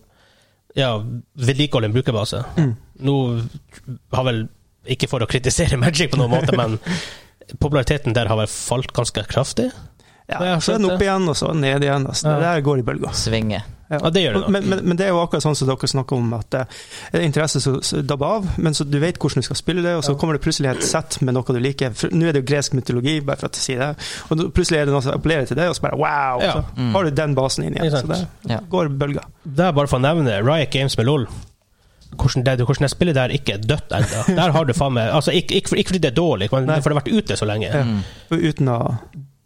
ja, vedlikeholder en brukerbase. Mm. Nå har vel Ikke for å kritisere Magic på noen måte, men populariteten der har vel falt ganske kraftig? Det har Ja, jeg så er den skjønt, opp igjen, og så ned igjen. Altså. Ja. Det der går i bølger. Svinge. Ja, det gjør det nok. Men, men, men det er jo akkurat sånn som dere snakker om, at eh, interesse så, så dabber av, men så du vet hvordan du skal spille det, og så kommer det plutselig et sett med noe du liker. For, nå er det jo gresk mytologi, bare for å si det, og nå plutselig er det noe som appellerer til det, og så bare wow! Ja. Så har du den basen inn igjen. Ikke Så sant. det Mm. Ja. går i bølger. Det er bare for å nevne Riot Games med LOL. Hvordan, det, hvordan jeg spiller der ikke er dødt ennå. Der har du faen meg altså, ikke, ikke, for- ikke fordi det er dårlig, men Nei. for det har vært ute så lenge. Uten å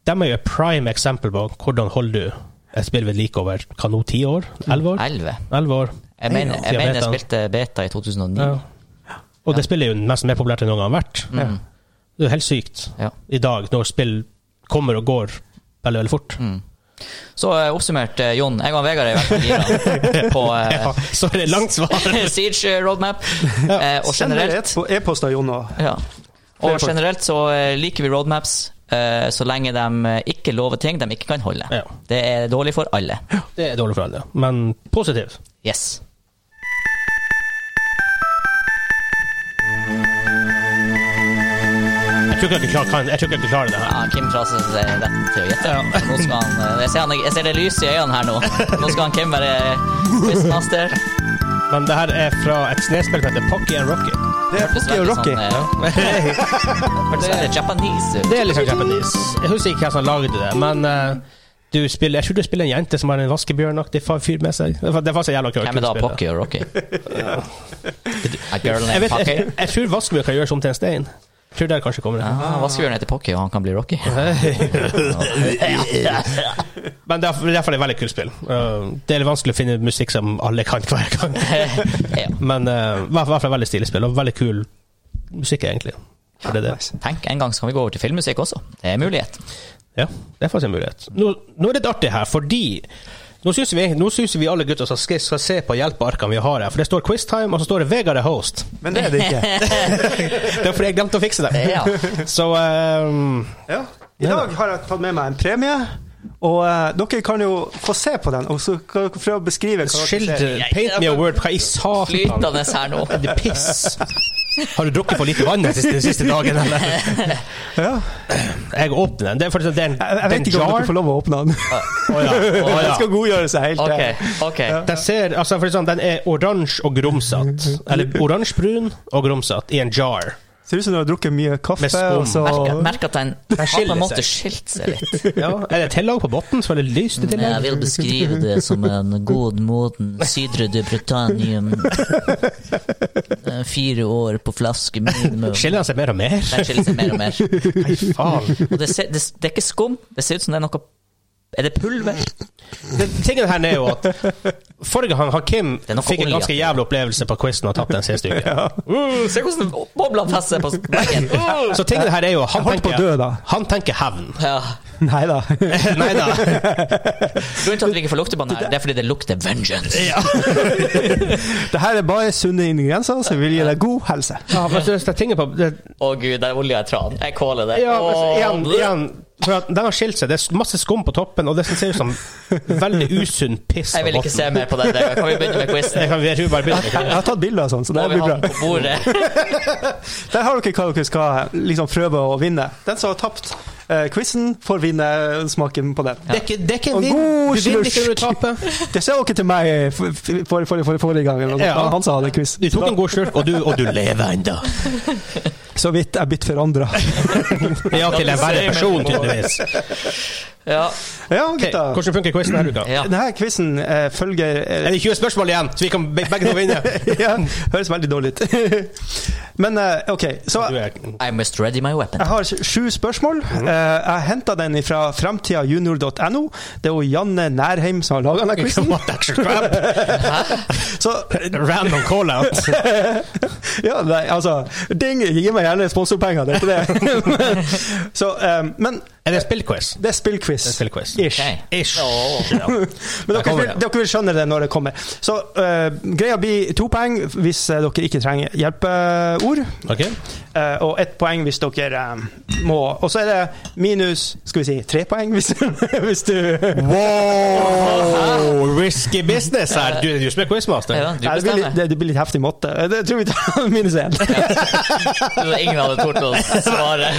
De er jo et prime eksempel på hvordan holder du et spill ved like over hva nå, ti år? Elleve år? Elleve. Elleve år. Jeg mener Siden jeg, mener jeg betaen. spilte beta i 2009. Ja. Og det spillet er jo nesten mer populært enn noen gang har vært. ja. Det er jo helt sykt Mm. Ja. i dag, når spill kommer og går veldig, veldig fort. Mm. Så eh, oppsummert, eh, Jon. Jeg og Vegard er i hvert fall gira på eh, Ja, så er det langt svar. Siege eh, roadmap. Eh, og Send dere generelt et på e-post av Jon og ja. Flere Og folk. generelt så eh, liker vi roadmaps eh, så lenge de eh, ikke lover ting de ikke kan holde. Ja. Det er dårlig for alle. Det er dårlig for alle, men positivt. Yes. Jeg tror ikke jeg klarer, kan, jeg tror ikke jeg klarer det her. Ja, Kim fraser seg retten til å gjette. Nå skal han, eh, jeg, ser han, jeg ser det lyset i øynene her nå. Nå skal han Kim være quizmaster. Men det her er fra et snespill som heter Pocky and Rocky. Det er Hørtes Pocky og veldig Rocky. sånn, eh, Hørtes veldig japanese ut. Det er liksom japanese. Jeg husker ikke hvem som lagde det, men eh, du spiller, jeg tror du spiller en jente som har en vaskebjørnaktig fa- fyr med seg. Det var- Det var så jævla kult. Hvem er da spillet. Pocky og Rocky? A girl Jeg, named vet, Pocky? jeg, jeg tror vaskebjørn kan gjøre som til en stein. Jeg tror der kanskje kommer det. Ah, Vaskebjørn heter Pocky, og han kan bli Rocky. Men det er det er derfor det er veldig kult spill. Eh, det er litt vanskelig å finne musikk som alle kan hver gang. ja. Men eh, i hvert fall- i hvert fall veldig stilig spill, og veldig kul musikk, egentlig. For det er det. Nice. Tenk, en gang så kan vi gå over til filmmusikk også. Det er en mulighet. Ja, det er faktisk en mulighet. Nå, nå er det litt artig her, fordi nå syns vi, nå synes vi alle gutter som skal, skal se på hjelpearkene vi har her, for det står QuizTime, og så står det Vegard er host. Men det er det ikke. Det er fordi jeg glemte å fikse det. Ja. Så ehm, Ja. I dag har jeg tatt med meg en premie, og eh, dere kan jo få se på den, og så kan dere prøve å beskrive hva dere Skild ser. Paint me a word. Hva i satan? Flytende her nå. Det er Piss. Har du drukket for lite vann den siste, siste dagen, eller? Ja. Jeg åpner den. Det er, faktisk, det er en, Jeg, jeg det er en vet ikke om dere får lov å åpne den. Å ja. å Den ja. skal godgjøre seg helt. Ok, eh, ok. Den, ser, altså for sånn, den er oransje og grumsete. Eller oransjebrun og grumsete i en jar. Ser ut som du har drukket mye kaffe. Med skum. og så- Merker merker at den har på skiller en måte seg. skilt seg litt. Ja, er det tillag på bunnen som er litt lyst i tillegg? sånn Jeg vil beskrive det som en god, moden Sydre de Bretagne. Eh, Fire år på flaske minimum. Skiller han seg mer og mer? Den skiller seg mer og mer. Nei, faen. Og det, ser, det, det er ikke skum. Det ser ut som det er noe Er det pulver? Det, tingen her er jo at forrige gang han Kim er noe fikk en olje. ganske jævlig opplevelse på quizen og tapte den siste uka. Uh, se hvordan bobla passer på veggen. Uh. Så tingen her er jo han Jeg holdt på tenker, å dø da. han tenker hevn. Ja. Nei da. Nei da. Grunnen til at vi ikke får lukte på den her, det er fordi det lukter vengeance. Det her er bare sunne ingredienser som vil gi deg god helse. Ja, men så- så tingen på det, Å gud, der er olja i tran. Jeg kåler det. Ja, men så Åh, igjen, blø. igjen for at Den har skilt seg. Det er masse skum på toppen, og det som ser ut som veldig usunn piss. Jeg vil ikke se mer på den. der. Kan vi begynne med quizen? Jeg kan, jeg tror bare Jeg jeg begynner. har tatt bilder og sånn, så det Må her vi blir ha den bra. på bordet? Der har dere hva dere skal liksom prøve å vinne. Den som har tapt eh, quizen, får vinne smaken på den. Det er ikke, det er ikke en Og vinn. god Du vinner ikke slurk. når du taper. Det sa dere til meg f- f- forrige for, for, for, forrige gang. eller noe sånt. Ja. Han sa han hadde quiz. Du tok en god slurk, og du, og du lever ennå. Så vidt jeg blitt forandra. Ja, til en verre person, tydeligvis. Ja. Ja, Ok, gutta. hvordan funker quizen denne uka? ja. Denne quizen eh, følger eh, Er det 20 spørsmål igjen, så vi kan be- begge to vinne? ja, Høres veldig dårlig ut. Men eh, OK, så Du er Mhm. I must ready my weapon. jeg har sju spørsmål. Eh, jeg henta den fra fremtidajunior.no. Det er jo Janne Nærheim som har laga denne quizen. What action crap? Så Random call-out. ja, nei, altså Ding! Gi meg gjerne sponsorpenger, det er ikke det. Men- så, eh, men Er det spillquiz? det er spillquiz. Det er spillquiz. Ish. Ok. Ish. Åh. Ja. Men Der dere kommer vil, det. dere vil skjønne det når det kommer. Så eh, greia blir to poeng hvis eh, dere ikke trenger hjelpeord. Ok. Eh, og ett poeng hvis dere eh, må Og så er det minus skal vi si, tre poeng hvis, hvis du Wow! Risky business her. Du, du som er quizmaster. Ja, du Nei, det, blir litt, bestemmer. det, det blir litt heftig måte. Eh, Det tror vi tar minus én. Så Ingen hadde tort å svare.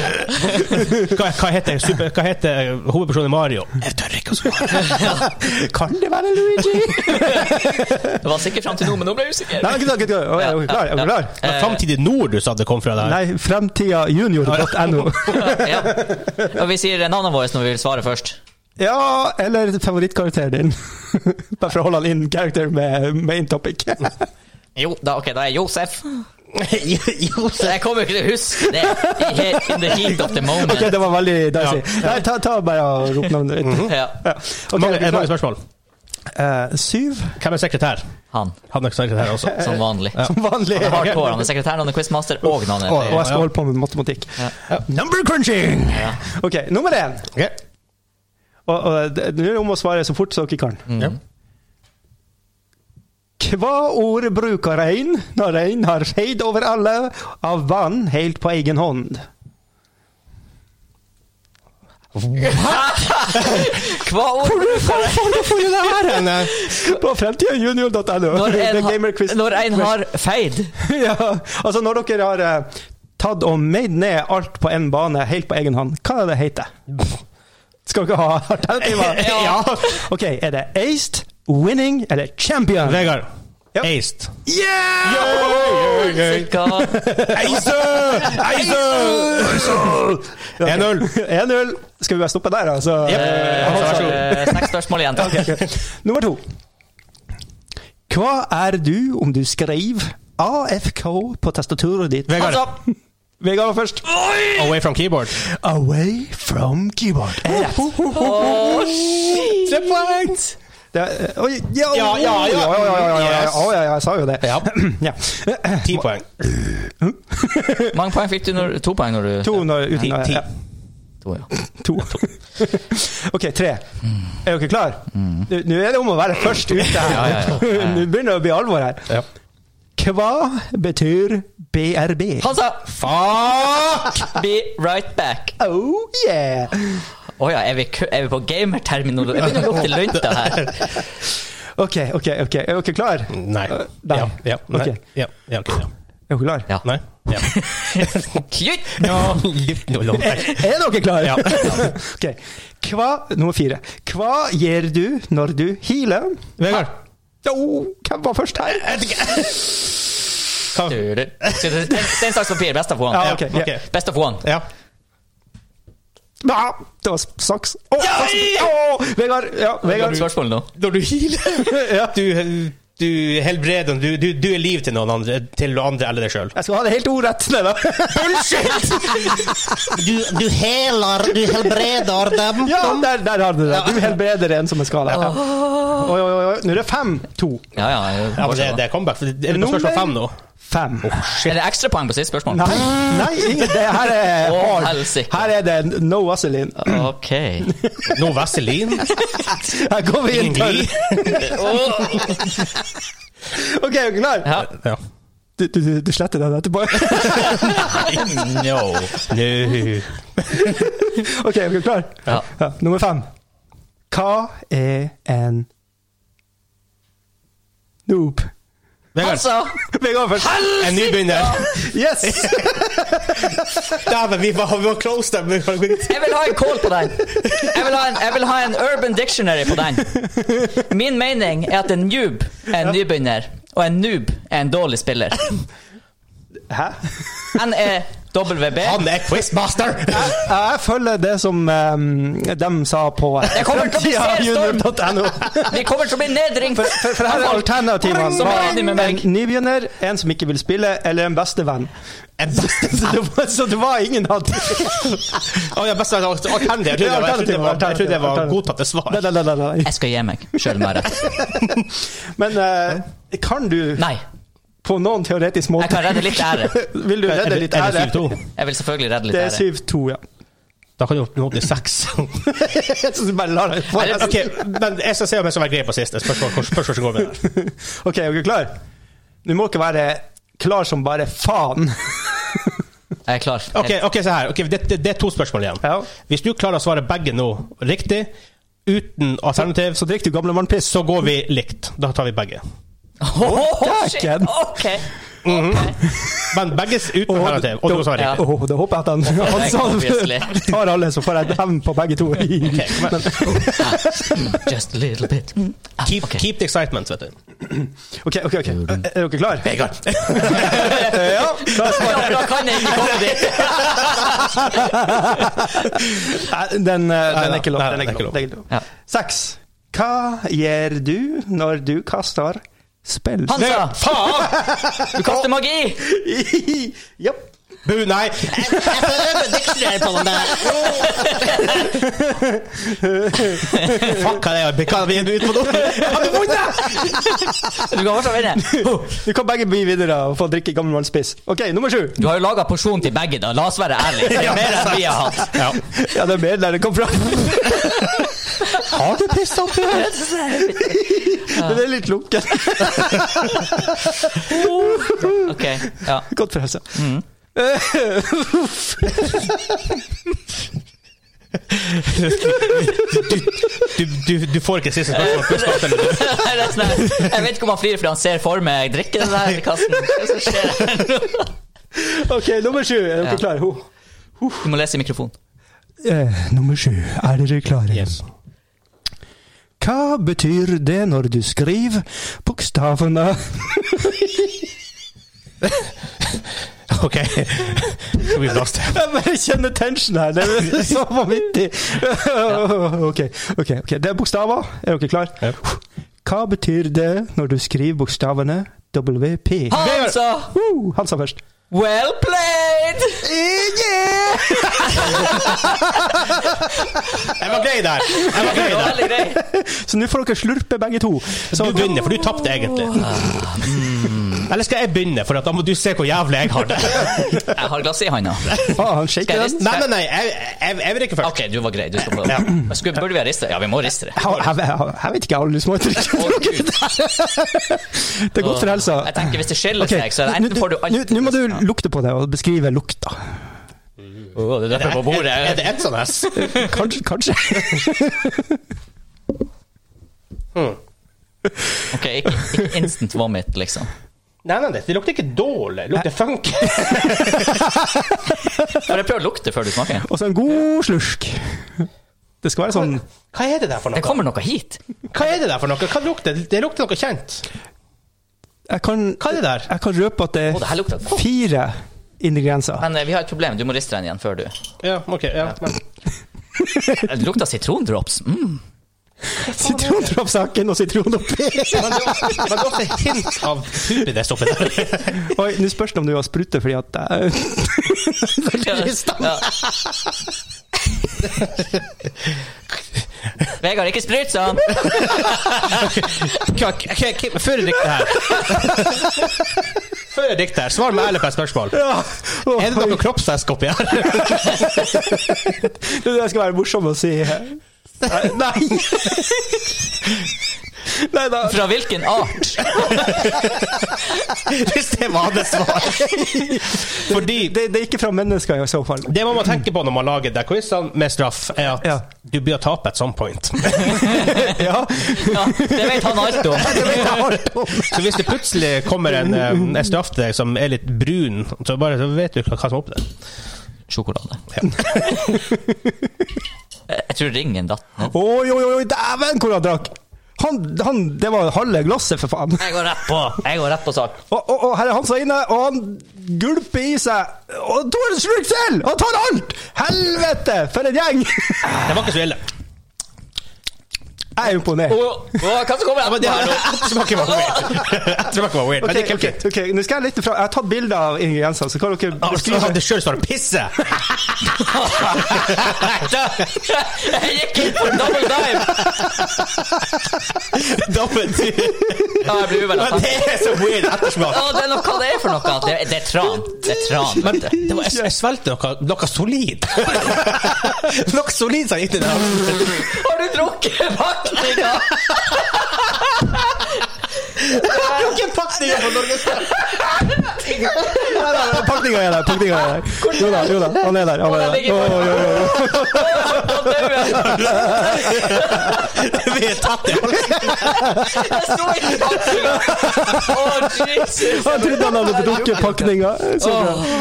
Hva, hva, heter super, hva heter eh, hovedpersonen i Mario? Jeg tør ikke å svare. Kan det være Luigi? Det var sikkert fram til nå, men nå ble jeg usikker. Nei, men gutta, gutta, gutta. Er dere klar? Er dere klar? Det var Framtidig Nord du sa det kom fra der. Nei, fremtidajunior.no. Ja. Og vi sier navnene våre når vi vil svare først. Ja, eller favorittkarakteren din. Bare for å holde han in character med main topic. Jo, da, ok, da er jeg Josef. Jeg kommer jo ikke til å huske det i he- in the heat of the moment. Ok, det var veldig dicey. Ja. Nei, ta, ta bare og rop navnet ditt. Mhm. Ja, Ja. Ok, mange, er dere eh, mange klar? spørsmål. Eh, syv, Hvem er sekretær? han, Han er sekretær også. som vanlig. som vanlig. Og Hardcore, han er sekretær, han er quizmaster, og han er jeg skal holde på med matematikk. Number crunching! Ja. Ok, nummer én. Ok. Og, og det- Nå er det om å svare så fort som dere kan. Ja. Hva ord bruker rein når rein har feid over alle av vann helt på egen hånd? Hva ord? Hvor faen får du det her? Men, eh, På fremtidajunior.no. Når en, Det er har- gamerquiz. når en har feid. ja, altså når dere har eh, tatt og meid ned alt på en bane helt på egen hånd, hva er det heter? Skal dere ha alternativer? Ja. Ok, er det aced, winning eller champion? Vegard. Ja. Aced. Yeah! Hva? Aced! Aced! 1-0. 1-0. Skal vi bare stoppe der, altså? Eh, Vær så god. eh, Seks spørsmål igjen. Ok, ok. Nummer to. Hva er du om du skriver AFK på tastaturet ditt? Vegard. Altså, Vegard var først. Away from keyboard. Away from keyboard. Oh, Er rett. Tre poeng! Det er- eh, Oi, ja, Ja, ja, ja. ja, ja, ja, ja, ja, ja, ja, jeg sa jo det. Ja. Ja. Ti poeng. mange poeng fikk du? Når, to poeng når du To når uten Ti, ja, ti. ja, To, ja. To. OK, tre. Er dere klar? Mm. Nå nå er det om å være først ute Ja, ja, her. ja. Ja, ja. Nå begynner det å bli alvor her. Ja. Hva betyr BRB? Han sa Fuck! be right back. Oh yeah! Å ja, er vi, kø- er vi på gamerterminal? Jeg begynner å lukte lunta her. OK, OK, ok. er dere klar? Nei. Eh, nei. Ja. Ja. Nei. Ok. Ja. Ja, ok, ja. Er dere klar? Ja. Nei. Ja. Kjøtt! Ja, litt noe langt her. Er dere klare? Ja. ok. Hva, nummer fire. Hva gjør du når du healer? Vegard. Jo, hvem var først her? Hva- Du, du. Stein, saks, papir. Best of one. Ja, ok. ok. ja. Best of one. Ja. Ah, det var saks. Å, saks. Å, Vegard! Ja, Jeg har Vegard. et spørsmål nå. Når du healer Ja. du, du helbreder du, du, du er liv til noen andre, til andre eller deg sjøl. Jeg skal ha det helt ordrett. Nei da. Du, du heler, du helbreder dem. Ja, der, der har du det. Du helbreder en som er skada. Ja. Oi, oi, oi. Nå er det fem-to. Ja, ja, jeg- Ja, men det, det er comeback. for Det er på spørsmål Nummer- fem nå. Fem. Er det ekstrapoeng på siste spørsmål? Nei, nei ingen, det her er Å, hard. helsike. Her er det no vaselin. Ok. Nå Vaselin. Her går vi inn Ingen til glid. OK, er du klar? Ja. Ja. Du, du, du- du sletter den etterpå? No. OK, er du klar? Ja. Ja, nummer fem. Hva er en noob? Vegard, Altså, Vegard først. en nybegynner. Yes! Dæven, vi var, vi var close der. men vi- jeg vil ha en call på den. Jeg vil ha en, jeg vil ha en urban dictionary på den. Min mening er at en noob er en nybegynner, og en noob er en dårlig spiller. E Hæ? Han er WB. Han er quizmaster! Jeg, jeg følger det som de sa på eh, Jeg kommer til å bli seerstånd. fremtidajunior.no. Vi kommer til å bli nedringt. For, for, for her er alternativene. Som er enig med Var En meg. nybegynner, en som ikke vil spille, eller en bestevenn. En bestevenn? det var, så det var ingen av de. Oh, ja, best av alt- alternativ. Jeg trodde det var- jeg trodde det var, jeg trodde det var godtatte svar. Nei, nei, nei, nei. Jeg skal gi meg, sjøl om jeg har rett. Men eh, kan du Nei. på noen teoretisk Jeg kan måte redde litt ære. Vil du Er redde det litt ære? 7-2? Jeg vil selvfølgelig redde litt Det er ære. 7-2, ja. Da kan du opp nå til seks. Så du bare lar det få Nei, det- Ok, men jeg skal se om jeg skal være grei på siste. Spørsmål hvor- spørsmål som går med det. OK, er dere klar? Du må ikke være klar som bare faen. Jeg er klar. Ok, ok, se her. Ok, det, det, det er to spørsmål igjen. Ja. Hvis du klarer å svare begge nå riktig, uten alternativ, Så drikker du gamlemannpiss. så går vi likt. Da tar vi begge. Åh, shit. Dæken. Ok. Men begge s- uten alternativ. Og du svarer Ja. riktig. Åh, da håper jeg at han, han sa- obviously. tar alle, så får jeg hevn på begge to. men- Mm, Just a little bit. Mm. Ah, Keep, ok. keep the excitement, vet du. OK, OK. ok. Er er dere klare? Vegard. Ja. da svarer Ja, da kan jeg ikke komme dit. Nei, den, eh, den da. er ikke lov. Nei, Den er den ikke er lov. Den er ikke lov. Ja. Seks. Hva gjør du når du kaster spill? Han sa faen! Du kaster magi! Japp. Bu, nei. Jeg jeg får øve dictionary på den der. Fuck, hva er det? Hva er det vi er ute på nå? Har du vunnet? Du kan fortsatt vinne. Du kan begge bli videre og få drikke gammel mannspiss. OK, nummer sju. Du har jo laga porsjon til begge, da. La oss være ærlige. Det er mer enn vi har hatt. Ja. Ja, det er mer der det kom fra. Har du pissa opp i det? Den er litt lunken. Ok, ja. Godt for helsa. Du, du, du får ikke siste spørsmål. Pluss på at den- Nei, det er sånn her. Jeg vet ikke om han flirer fordi han ser for meg drikke den der i kassen. Hva er det som skjer? OK, nummer sju. Er dere Ja. klare? Ho. Du må lese i mikrofonen. Eh, nummer sju. Er dere klare? Yes. Hva betyr det når du skriver bokstavene Ok. Skal vi blaste? Jeg bare kjenner tension her. Det er så vanvittig. OK, ok, ok. Det er bokstaver. Er dere klare? Hva betyr det når du skriver bokstavene WP? Han sa Woo! Han sa først. well played! Yeah! Jeg var grei der. Jeg var grei Det der. var veldig grei. Så nå får dere slurpe begge to. Så du begynner, for du tapte egentlig. Ah, Eller skal jeg begynne, for at da må du se hvor jævlig jeg har det. Jeg har glass i handa. Ah, han shaker Skal jeg den. riste? Nei, nei, nei, jeg, jeg, jeg vil ikke først. Ok, du var grei. Du skal få Skulle, burde vi ha ristet? Ja, vi må riste det. Jeg, jeg, jeg, jeg vet ikke, jeg har lyst til å drikke. Å, Gud. Det er godt for helsa. Jeg tenker Hvis det skiller Ok, seg, så er det nå- enten får du nå- alt Nå må du lukte på det og beskrive lukta. Åh, Det er på bordet. Er det et sånn her? s- Kanskje, kanskje. Ok, ikke, ikke instant vomit, liksom. Nei, nei, det lukter ikke dårlig. Det lukter funk. For jeg prøver å lukte før du smaker. Og så en god slurk. Det skal være sånn Hva er det der for Det noe? kommer noe hit. Hva er det der for noe? Hva lukter det? Det lukter noe kjent. Jeg kan, Hva er det der? jeg kan røpe at det Å, det her lukter er godt. fire ingredienser. Men eh, vi har et problem. Du må riste den igjen før du Ja, ok. Ja. Men, Det lukter sitrondrops. Mm. Sitrondrops har ikke noe sitron oppi. men det var- men det var også hint av pup i det stoffet der. Oi, nå spørs det om du har sprute, fordi at eh, Ja. Vegard, ikke sprut sånn! Hva- hva- hva- Før jeg dikter her Før jeg dikter her, svar meg ærlig på et spørsmål. ja. Oi, Er det noe kroppsvæske oppi her? Det der skal være morsomt å si. Nei. Nei. Nei da. Fra hvilken art? Hvis det var det svaret. Fordi Det, det er ikke fra mennesker i så fall. Det man må tenke på når man lager de quizene med straff, er at Ja. du blir å tape at some point. Ja. Ja, det vet han altså. alt om. Det vet jeg alt om. Så hvis det plutselig kommer en, eh, en straff til deg som er litt brun, så bare så vet du hva hva som er oppi der. Sjokolade. Jeg tror ringen datt ned. Oi, oi, oi, dæven hvor han drakk! Han, han, det var halve glasset, for faen. Jeg går rett på Jeg går rett på sak. Og, og, og her er han som er inne, og han gulper i seg. Og to en slurk til! Han tar alt! Helvete, for en gjeng! Jeg Det var ikke så ille. er imponert. Og, og hva som kommer Men det etterpå her nå? ettersmaken var weird. Ettersmaken var weird. Ok, Men det gikk ok, helt fint. ok, Nå skal jeg litt fra Jeg har tatt bilder av ingrediensene, så kan dere Altså, beskrive hadde sjøl svaret 'pisse'! Jeg gikk inn på en double dive! Da ble det- Ja, jeg blir uvel av Men tanken. det er så weird ettersmak. Å, det er noe, hva det er for noe? Det, det er tran. Det er tran. Men det var, jeg, jeg svelgte noe, noe solid. Noe solid sa jeg inni der. Har du drukket pakninga? Hvilken pakning er på Norges Nei, nei, nei, Pakninga er der. pakninga er der. Jo da, jo da, han er der. Han er der. Oi, oi, oi, oi. Å, dau jeg. Vi er tatt i halsen. Jeg sto ikke i pakninga! Å, Oh, Jesus. Han trodde han hadde drukket pakninga. Så bra. Å,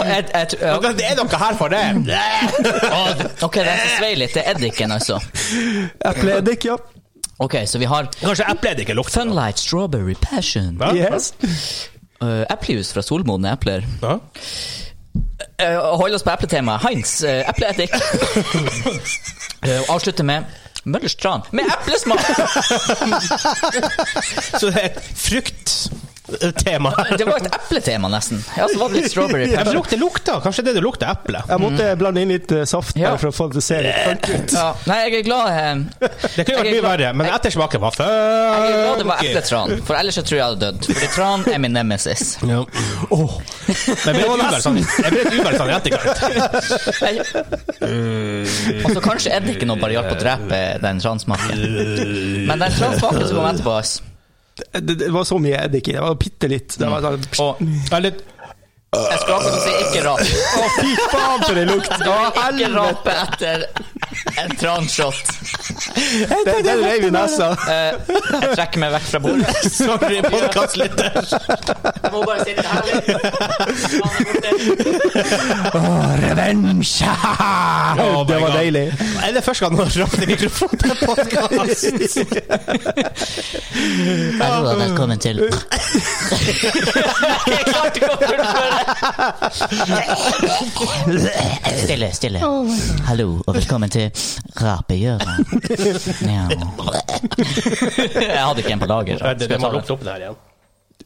jeg- jeg tror- ja. Det er noe her for det. Å, det- Ok, det er så svei litt. Det er eddiken, altså. Epleeddik, ja. Ok, så vi har Kanskje eplet ikke lukter. Funlight Strawberry Passion. Hva? Yes. Eh, eplejus fra solmodne epler. Ja. Eh, Hold oss på epletemaet. Heinz, eh, epleetikk. Eh, og avslutte med Møllers tran med eplesmak! Så det er et frukttema. Det var et epletema, nesten. Ja, så var det litt strawberry. Ja, men lukter lukter. Kanskje det du lukter eple. Jeg måtte blande inn litt eh, saft Ja. bare for å få det til å se litt funky ut. Ja. Nei, jeg er glad eh, Det kunne vært Jeg er mye glad- verre, men ettersmaken var Jeg er glad det var funky. epletran, for ellers så tror jeg jeg hadde dødd. Fordi tran er min nemesis. Ja. Åh. Men jeg ble et uvel sånn- jeg ble et uvel sånn i etterkant. Jeg... Og så kanskje er det ikke noe bare hjelp å drepe den transmaken. Men den transmaken som kom etterpå, ass. Det, det var så mye eddik i det. var Bitte litt. Det var sånn Og Ja, litt- jeg skal akkurat si ikke rap. Å, fy faen, for en lukt! Å, Ikke helvete! rape etter en transhot. Det, det reiv i nesa. Eh, jeg trekker meg vekk fra bordet. Sorry, podkastlytter. Jeg må bare sitte her litt. Faen, jeg er borte. Revenge! Oh my det var God. deilig. Er det første gang noen rapte mikrofonen på podkast? Hallo og velkommen til Jeg klarte ikke å fullføre. Stille, stille. Hallo og velkommen til Rapehjørnet. Ja. Jeg hadde ikke en på lager. så Det Skal jeg må ta det? lukte opp det her igjen.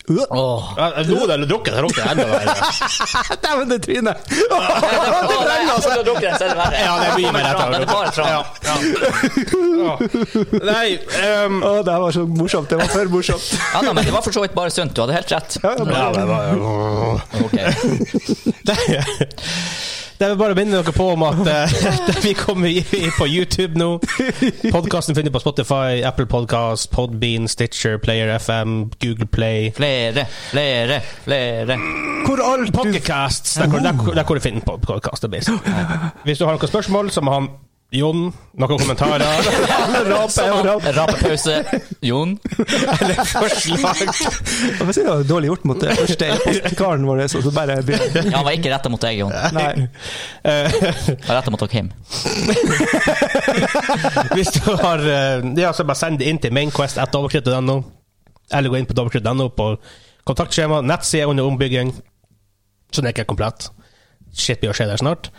Åh. Ja, jeg Lo det eller drukket, det lukter enda verre. Dæven, det trynet! Åh, Det nei, brenner, jeg altså! trodde dere selv var det. Ja, det blir med dette. Men det var tran. Ja, ja. Åh. Nei ehm, Å, det her var så morsomt. Det var for morsomt. Ja, nei, men det var for så vidt bare sunt. Du hadde helt rett. Ja, ja, ja, det var, Ok. Det det vil bare minne dere på om at eh, vi kommer i- i på YouTube nå. Podkasten finner på Spotify, Apple Podcast, Podbean, Stitcher, Player FM, Google Play. Flere, flere, flere. Hvor alt du Podcasts, der hvor, der, hvor- der hvor du finner podkaster. Hvis du har noen spørsmål, så må han Jon noen kommentarer raper og raper Rapepause. Jon. eller forslag. Hva sier du? Dårlig gjort mot det første postkaren vår, så så bare begynner Ja, han var ikke retta mot deg, Jon. Han Nei. var retta mot dere, Kim. Hvis du har eh, Ja, så bare send det inn til mainquest.overkritt.no, eller gå inn på overkritt.no på Kontaktskjema, nettside under ombygging, så den er ikke komplett. Shit blir å skje der snart.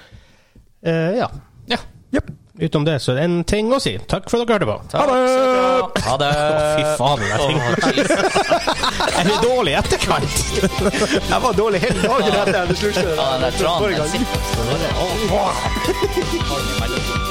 Eh, ja. Ja. Yep. Utenom det så er det en ting å si. Takk for at dere hørte på. Takk skal du ha. Ha det. Fy faen, den der Åh, Jesus. ting- er det dårlig i etterkant? Jeg var dårlig hele dagen etter at jeg hadde sluttet. Ja, den der tranen. den sitter. Åh. Har den i mellom.